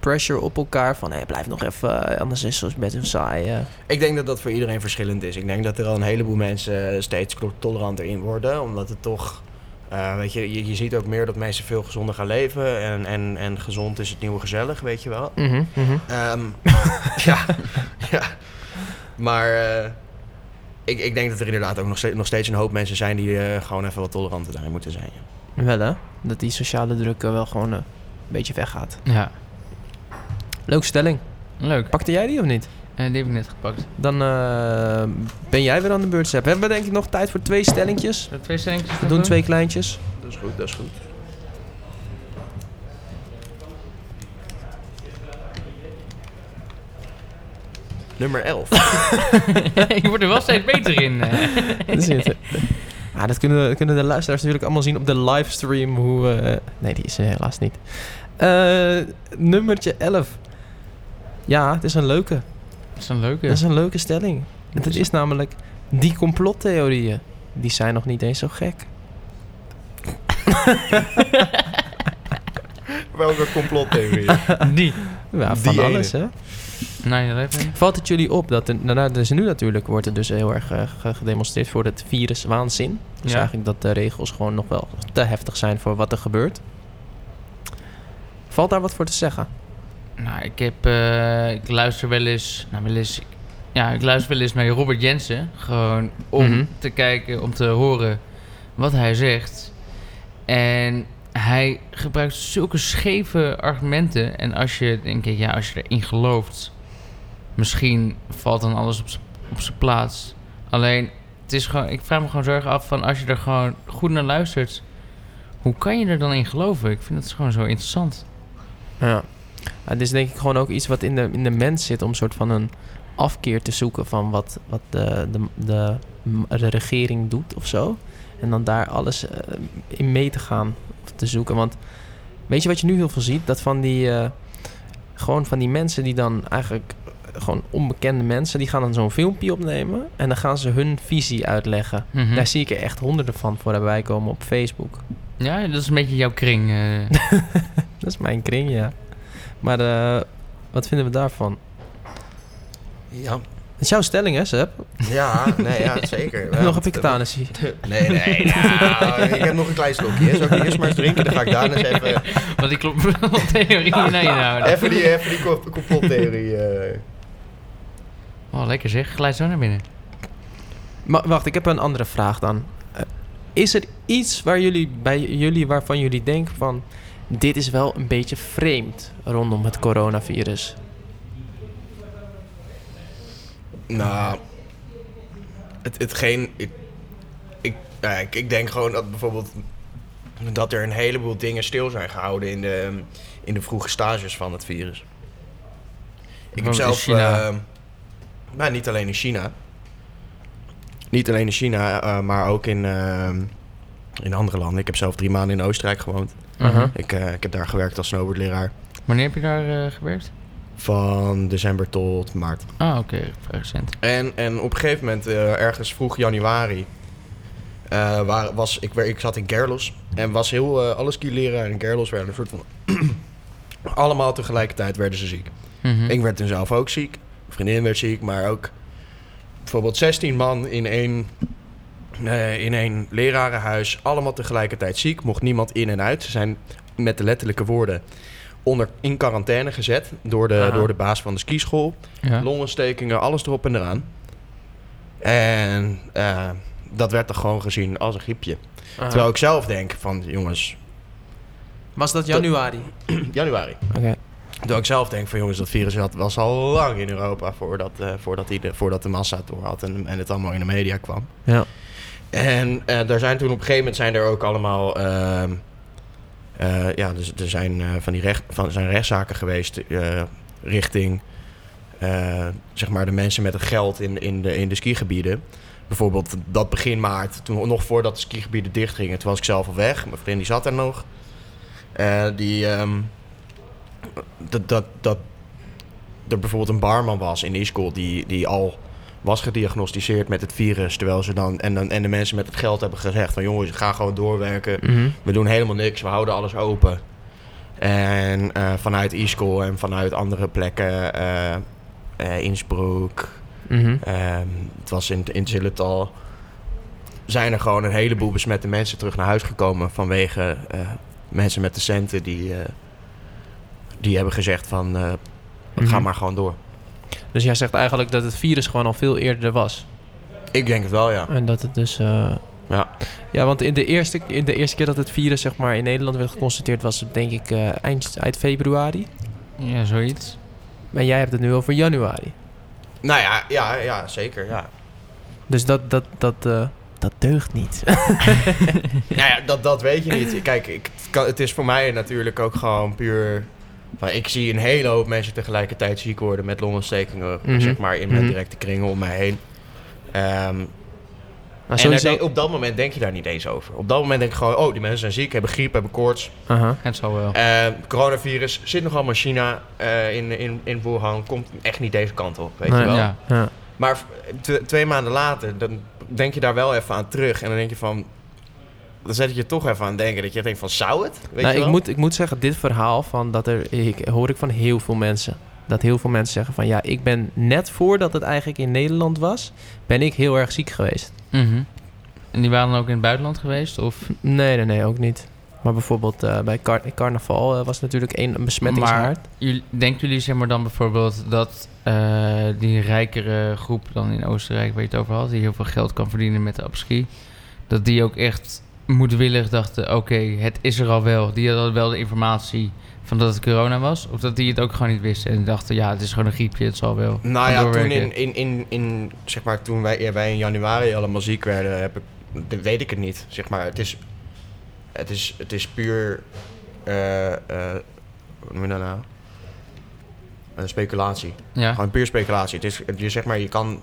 Speaker 3: pressure op elkaar? Van, hé, blijf nog even, eh, anders is het best een saai. eh.
Speaker 4: Ik denk dat dat voor iedereen verschillend is. Ik denk dat er al een heleboel mensen eh, steeds klo- toleranter in worden. Omdat het toch. eh, weet je, je, je ziet ook meer dat mensen veel gezonder gaan leven. En, en, en gezond is het nieuwe gezellig, weet je wel.
Speaker 3: Mhm, mhm.
Speaker 4: Ehm, ja, ja. Maar eh, ik, ik denk dat er inderdaad ook nog steeds, nog steeds een hoop mensen zijn die eh, gewoon even wat toleranter daarin moeten zijn. ja.
Speaker 3: Wel hè, dat die sociale druk eh, wel gewoon eh, een beetje weggaat.
Speaker 2: ja.
Speaker 3: Leuke stelling.
Speaker 2: Leuk.
Speaker 3: Pakte jij die of niet?
Speaker 2: Eh, die heb ik net gepakt.
Speaker 3: Dan eh, ben jij weer aan de beurt, Sepp. We hebben denk ik nog tijd voor twee stellingjes.
Speaker 2: Zullen we twee stellingjes
Speaker 3: We
Speaker 2: nog
Speaker 3: doen twee kleintjes.
Speaker 4: Dat is goed, dat is goed. Nummer 11.
Speaker 2: ik word er wel steeds beter in. eh.
Speaker 3: Er zitten. Ah, dat kunnen, dat kunnen de luisteraars natuurlijk allemaal zien op de livestream. Hoe, eh, nee, die is er helaas niet. Eh, nummertje 11. Ja, het is een leuke.
Speaker 2: dat is een leuke.
Speaker 3: Dat is een leuke stelling. Want het is namelijk... Die complottheorieën, die zijn nog niet eens zo gek.
Speaker 4: Welke complottheorie?
Speaker 2: Die.
Speaker 3: Ja,
Speaker 4: Die
Speaker 3: van
Speaker 4: ene.
Speaker 3: alles, hè?
Speaker 2: Nee, dat heeft niet.
Speaker 3: Valt het jullie op dat er, nou, nou, er is nu natuurlijk wordt er dus heel erg eh, ge- gedemonstreerd voor het virus waanzin. Dus
Speaker 2: Ja.
Speaker 3: eigenlijk dat de regels gewoon nog wel te heftig zijn voor wat er gebeurt. Valt daar wat voor te zeggen?
Speaker 2: Nou, ik heb... eh, ik luister wel eens... Nou, wel eens... Ja, ik luister wel eens naar Robert Jensen. Gewoon om
Speaker 3: Mhm.
Speaker 2: te kijken, om te horen wat hij zegt. En hij gebruikt zulke scheve argumenten. En als je, denk ik, ja, als je erin gelooft... Misschien valt dan alles op z'n- op zijn plaats. Alleen, het is gewoon, ik vraag me gewoon zorgen af van als je er gewoon goed naar luistert... Hoe kan je er dan in geloven? Ik vind dat gewoon zo interessant.
Speaker 3: Ja. Het is denk ik gewoon ook iets wat in de, in de mens zit om een soort van een afkeer te zoeken van wat, wat de, de, de, m- de regering doet of zo. En dan daar alles eh, in mee te gaan of te zoeken. Want weet je wat je nu heel veel ziet? Dat van die, eh, gewoon van die mensen die dan eigenlijk eh, gewoon onbekende mensen, die gaan dan zo'n filmpje opnemen en dan gaan ze hun visie uitleggen.
Speaker 2: Mhm.
Speaker 3: Daar zie ik er echt honderden van voorbij komen op Facebook.
Speaker 2: Ja, dat is een beetje jouw kring. eh.
Speaker 3: Dat is mijn kring, ja. Maar eh, wat vinden we daarvan?
Speaker 4: Ja.
Speaker 3: Het is jouw stelling, hè, Seb?
Speaker 4: Ja, nee, ja, zeker. Ja,
Speaker 3: Nog een
Speaker 4: dat-
Speaker 3: piketanis hier.
Speaker 4: Nee, nee, nou, ik heb nog een klein slokje. hè. Zal ik eerst maar eens drinken? Dan ga ik daarna eens even,
Speaker 2: Want die complottheorie nee nou.
Speaker 4: even die, even die co- complottheorie... eh.
Speaker 2: Oh, lekker zeg. Glijd zo naar binnen.
Speaker 3: Maar wacht, ik heb een andere vraag dan. Eh, is er iets waar jullie, bij jullie waarvan jullie denken van... dit is wel een beetje vreemd rondom het coronavirus?
Speaker 4: Nou, het, hetgeen... Ik, ik, nou ja, ik, ik denk gewoon dat bijvoorbeeld... dat er een heleboel dingen stil zijn gehouden in de, in de vroege stages van het virus. Ik heb
Speaker 2: Bijvoorbeeld in
Speaker 4: zelf...
Speaker 2: China.
Speaker 4: eh, nou, niet alleen in China. Niet alleen in China, eh, maar ook in, eh, in andere landen. Ik heb zelf drie maanden in Oostenrijk gewoond.
Speaker 2: Uh-huh.
Speaker 3: Mhm.
Speaker 4: Ik, eh, ik heb daar gewerkt als snowboardleraar.
Speaker 2: Wanneer heb je daar eh, gewerkt?
Speaker 4: Van december tot maart.
Speaker 2: Ah, oké. Vrij recent.
Speaker 4: En, en op een gegeven moment, eh, ergens vroeg januari, eh, waar, was, ik, wer- ik zat in Gerlos. En was heel, eh alle skileraar in Gerlos werden een soort van... allemaal tegelijkertijd werden ze ziek.
Speaker 2: Mhm.
Speaker 4: Ik werd toen zelf ook ziek. Mijn vriendin werd ziek, maar ook bijvoorbeeld 16 man in één, eh, in één lerarenhuis. Allemaal tegelijkertijd ziek. Mocht niemand in en uit. Ze zijn met de letterlijke woorden onder, in quarantaine gezet door de,
Speaker 3: Aha.
Speaker 4: door de baas van de skischool
Speaker 2: ja.
Speaker 4: longontstekingen, alles erop en eraan. En eh, dat werd dan gewoon gezien als een griepje.
Speaker 3: Ah.
Speaker 4: Terwijl ik zelf denk van, jongens,
Speaker 3: Was dat januari?
Speaker 4: januari.
Speaker 3: Oké.
Speaker 4: Terwijl ik zelf denk van, jongens, dat virus had, was al lang in Europa voordat, eh, voordat, die de, voordat de massa het door had en, en het allemaal in de media kwam.
Speaker 3: Ja.
Speaker 4: En eh, daar zijn toen op een gegeven moment zijn er ook allemaal... ehm, eh, ja, dus er zijn eh, van die recht, van, zijn rechtszaken geweest eh, richting eh, zeg maar de mensen met het geld in, in, de, in de skigebieden. Bijvoorbeeld dat begin maart, toen, nog voordat de skigebieden dichtgingen. Toen was ik zelf al weg. Mijn vriend die zat daar nog. Eh, die, ehm, dat, dat, dat er bijvoorbeeld een barman was in Iskol die, die al was gediagnosticeerd met het virus. Terwijl ze dan en, dan en de mensen met het geld hebben gezegd van jongens, ga gewoon doorwerken.
Speaker 3: Mhm.
Speaker 4: We doen helemaal niks, we houden alles open. En eh, vanuit e-school en vanuit andere plekken, eh eh, Innsbruck,
Speaker 3: Mhm.
Speaker 4: ehm, het was in, in Zillertal, zijn er gewoon een heleboel besmette mensen terug naar huis gekomen vanwege eh, mensen met de centen die, eh, die hebben gezegd van eh, ga
Speaker 3: Mhm.
Speaker 4: maar gewoon door.
Speaker 3: Dus jij zegt eigenlijk dat het virus gewoon al veel eerder er was?
Speaker 4: Ik denk het wel, ja.
Speaker 3: En dat het dus... eh,
Speaker 4: Ja.
Speaker 3: ja, want in de, eerste, in de eerste keer dat het virus zeg maar, in Nederland werd geconstateerd was het denk ik eh, eind, eind februari.
Speaker 2: ja, zoiets.
Speaker 3: Maar jij hebt het nu over januari.
Speaker 4: Nou ja, ja, ja zeker, ja.
Speaker 3: Dus dat, dat, dat, eh, dat deugt niet.
Speaker 4: Nou ja, dat, dat weet je niet. Kijk, ik, het kan- het is voor mij natuurlijk ook gewoon puur... van, ik zie een hele hoop mensen tegelijkertijd ziek worden met longontstekingen...
Speaker 3: Mhm.
Speaker 4: zeg maar, in mijn
Speaker 3: Mhm.
Speaker 4: directe kringen om mij heen. Ehm,
Speaker 3: Maar
Speaker 4: en daar
Speaker 3: sowieso...
Speaker 4: denk- op dat moment denk je daar niet eens over. Op dat moment denk ik gewoon... oh, die mensen zijn ziek, hebben griep, hebben koorts.
Speaker 3: Aha.
Speaker 2: Het zal wel.
Speaker 4: Eh, coronavirus zit nog allemaal in China, eh, in, in, in Wuhan... komt echt niet deze kant op, weet
Speaker 3: Nee,
Speaker 4: je wel.
Speaker 2: Ja.
Speaker 3: Ja.
Speaker 4: Maar v- tw- twee maanden later, dan denk je daar wel even aan terug. En dan denk je van... Dan zet ik je toch even aan het denken. Dat je denkt van, zou het? Weet
Speaker 3: Nou,
Speaker 4: je
Speaker 3: ik,
Speaker 4: wel?
Speaker 3: moet, ik moet zeggen, dit verhaal van dat er, ik, hoor ik van heel veel mensen. Dat heel veel mensen zeggen van ja, ik ben net voordat het eigenlijk in Nederland was, ben ik heel erg ziek geweest.
Speaker 2: Mhm. En die waren dan ook in het buitenland geweest? Of...
Speaker 3: Nee, nee, nee, ook niet. Maar bijvoorbeeld eh, bij car- carnaval eh, was natuurlijk één een besmettingshaard.
Speaker 2: Jullie- denken jullie zeg maar dan bijvoorbeeld dat eh, die rijkere groep dan in Oostenrijk waar je het over had, die heel veel geld kan verdienen met de apski, dat die ook echt moedwillig dachten, oké, het is er al wel. Die hadden wel de informatie van dat het corona was, of dat die het ook gewoon niet wisten en dachten, ja, het is gewoon een griepje, het zal wel.
Speaker 4: Nou
Speaker 2: Gaan
Speaker 4: ja, toen,
Speaker 2: doorwerken.
Speaker 4: in, in, in, in, zeg maar, toen wij, ja, wij in januari allemaal ziek werden, heb ik, dat weet ik het niet. Zeg maar, het, is, het, is, het is puur. eh, eh, hoe noem je dat nou? Eh, speculatie.
Speaker 2: Ja.
Speaker 4: Gewoon puur speculatie. Het is, het- je, zeg maar, je kan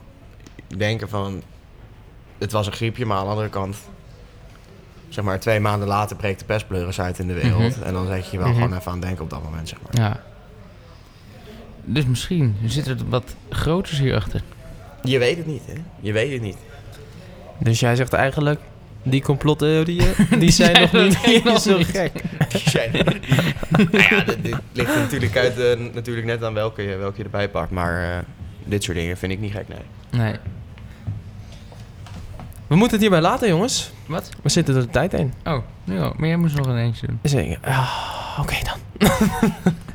Speaker 4: denken van. Het was een griepje, maar aan de andere kant. Zeg maar, twee maanden later breekt de pestpleuris uit in de wereld. En dan zet je je wel
Speaker 3: Mhm.
Speaker 4: gewoon even aan het denken op dat moment, zeg maar.
Speaker 2: ja. Dus misschien zit er wat groters hierachter.
Speaker 4: Je weet het niet, hè? Je weet het niet.
Speaker 3: Dus jij zegt eigenlijk, die complottheorieën, die zijn nog
Speaker 2: zijn nog
Speaker 3: niet
Speaker 2: helemaal
Speaker 3: zo
Speaker 2: niet.
Speaker 3: gek.
Speaker 4: zijn. nou ja, dit, dit ligt er natuurlijk, uit, eh, natuurlijk net aan welke, je- welke je erbij pakt. Maar eh, dit soort dingen vind ik niet gek, nee.
Speaker 2: Nee.
Speaker 3: We moeten het hierbij laten, jongens.
Speaker 2: Wat?
Speaker 3: We zitten door de tijd heen.
Speaker 2: Oh, nu al. Maar jij moest nog een eentje doen.
Speaker 3: Dus ik, ah, oké dan.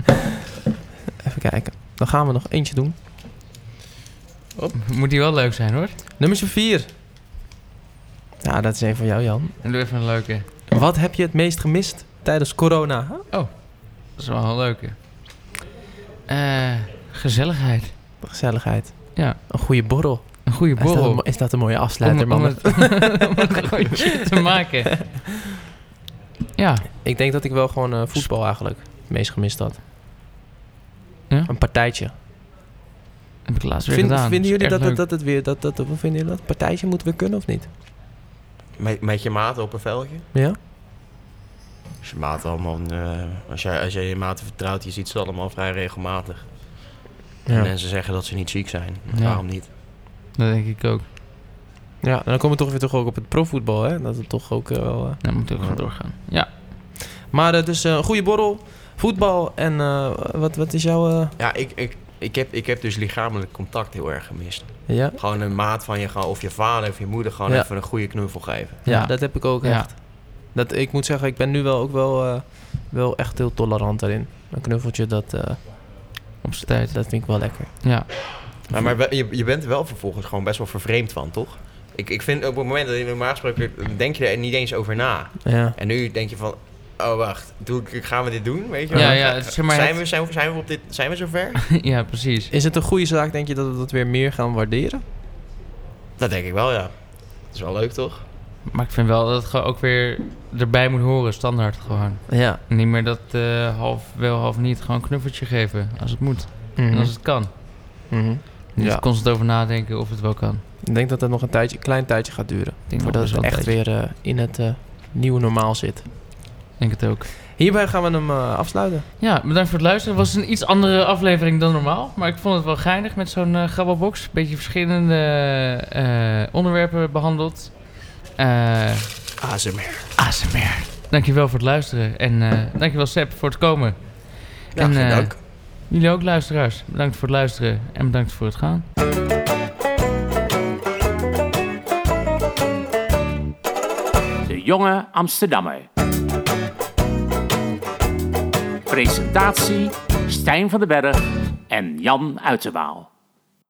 Speaker 3: Even kijken. Dan gaan we nog eentje doen.
Speaker 2: Moet die wel leuk zijn hoor.
Speaker 3: Nummer 4. Ja, dat is een van jou, Jan.
Speaker 2: En doe even een leuke.
Speaker 3: Wat heb je het meest gemist tijdens corona?
Speaker 2: Dat is wel een leuke. Eh, gezelligheid.
Speaker 3: Gezelligheid.
Speaker 2: Ja.
Speaker 3: Een goede borrel.
Speaker 2: Een goede
Speaker 3: Is dat, een,
Speaker 2: borrel.
Speaker 3: mo- is dat een mooie afsluiter,
Speaker 2: om, om,
Speaker 3: man?
Speaker 2: het, om het een goeie shit te maken. Ja,
Speaker 3: Ik denk dat ik wel gewoon eh, voetbal eigenlijk het meest gemist had.
Speaker 2: Ja?
Speaker 3: Een partijtje.
Speaker 2: heb ik laatst weer
Speaker 3: Vind-
Speaker 2: gedaan.
Speaker 3: vinden
Speaker 2: Is
Speaker 3: jullie dat,
Speaker 2: erg
Speaker 3: dat,
Speaker 2: leuk.
Speaker 3: dat het weer... Dat, dat, hoe vinden jullie dat? Partijtje moeten we kunnen of niet?
Speaker 4: Met, met je maten op een veldje?
Speaker 3: Ja?
Speaker 4: Als je maten allemaal... eh, als, jij, als jij je maten vertrouwt, je ziet ze allemaal vrij regelmatig. En
Speaker 3: Ja.
Speaker 4: mensen zeggen dat ze niet ziek zijn.
Speaker 2: Ja.
Speaker 4: Waarom niet?
Speaker 2: Dat denk ik ook.
Speaker 3: ja, en dan komen we toch weer toch ook op het profvoetbal, hè? Dat het toch ook eh, wel... eh,
Speaker 2: Dan moet ik Nou, gewoon doorgaan. Ja.
Speaker 3: Maar eh, dus eh, een goede borrel, voetbal en eh, wat, wat is jouw... eh,
Speaker 4: Ja, ik, ik, ik, heb, ik heb dus lichamelijk contact heel erg gemist.
Speaker 3: ja?
Speaker 4: Gewoon een maat van je, gewoon- of je vader of je moeder, gewoon
Speaker 3: Ja.
Speaker 4: even een goede knuffel geven.
Speaker 3: ja,
Speaker 2: Ja.
Speaker 3: dat heb ik ook
Speaker 2: Ja.
Speaker 3: echt. Dat, ik moet zeggen, ik ben nu wel ook wel, eh, wel echt heel tolerant daarin. Een knuffeltje, dat, eh,
Speaker 2: Op zijn tijd.
Speaker 3: dat vind ik wel lekker.
Speaker 2: Ja.
Speaker 4: Ja, maar wel- je, je bent er wel vervolgens gewoon best wel vervreemd van, toch? Ik, ik vind op het moment dat je normaal gesproken... denk je er niet eens over na.
Speaker 3: Ja.
Speaker 4: En nu denk je van, oh wacht, doe ik, gaan we dit doen? Weet je wel?
Speaker 2: Ja, ja, het- zeg maar
Speaker 4: zijn,
Speaker 2: het-
Speaker 4: we, zijn, we, zijn we op dit, zijn we zover?
Speaker 2: ja, precies.
Speaker 3: Is het een goede zaak, denk je, dat we dat weer meer gaan waarderen?
Speaker 4: dat denk ik wel, ja. Dat is wel leuk, toch?
Speaker 2: Maar ik vind wel dat het gewoon ook weer erbij moet horen. Standaard gewoon.
Speaker 3: Ja.
Speaker 2: Niet meer dat eh, half wel, half niet. Gewoon een knuffeltje geven. Als het moet.
Speaker 3: Mhm.
Speaker 2: En als het kan. Niet
Speaker 3: Ja.
Speaker 2: constant over nadenken of het wel kan.
Speaker 3: Ik denk dat dat nog een tijdje, klein tijdje gaat duren.
Speaker 2: Ik denk, nog
Speaker 3: Voordat
Speaker 2: best
Speaker 3: het
Speaker 2: wel een
Speaker 3: echt
Speaker 2: tijdje.
Speaker 3: weer eh, in het eh, nieuwe normaal zit.
Speaker 2: Ik denk het ook.
Speaker 3: Hierbij gaan we hem eh, afsluiten.
Speaker 2: Ja, bedankt voor het luisteren. Het was een iets andere aflevering dan normaal. Maar ik vond het wel geinig met zo'n eh grabbelbox. Beetje verschillende eh, onderwerpen behandeld. Eh
Speaker 4: ASMR.
Speaker 2: ASMR. Dankjewel voor het luisteren. En eh dankjewel Seb voor het komen.
Speaker 4: Ja,
Speaker 2: En,
Speaker 4: geen
Speaker 2: eh,
Speaker 4: dank.
Speaker 2: Jullie ook luisteraars. Bedankt voor het luisteren. En bedankt voor het gaan.
Speaker 1: De Jonge Amsterdammer. Presentatie Stijn van den Berg en Jan Uiterwaal.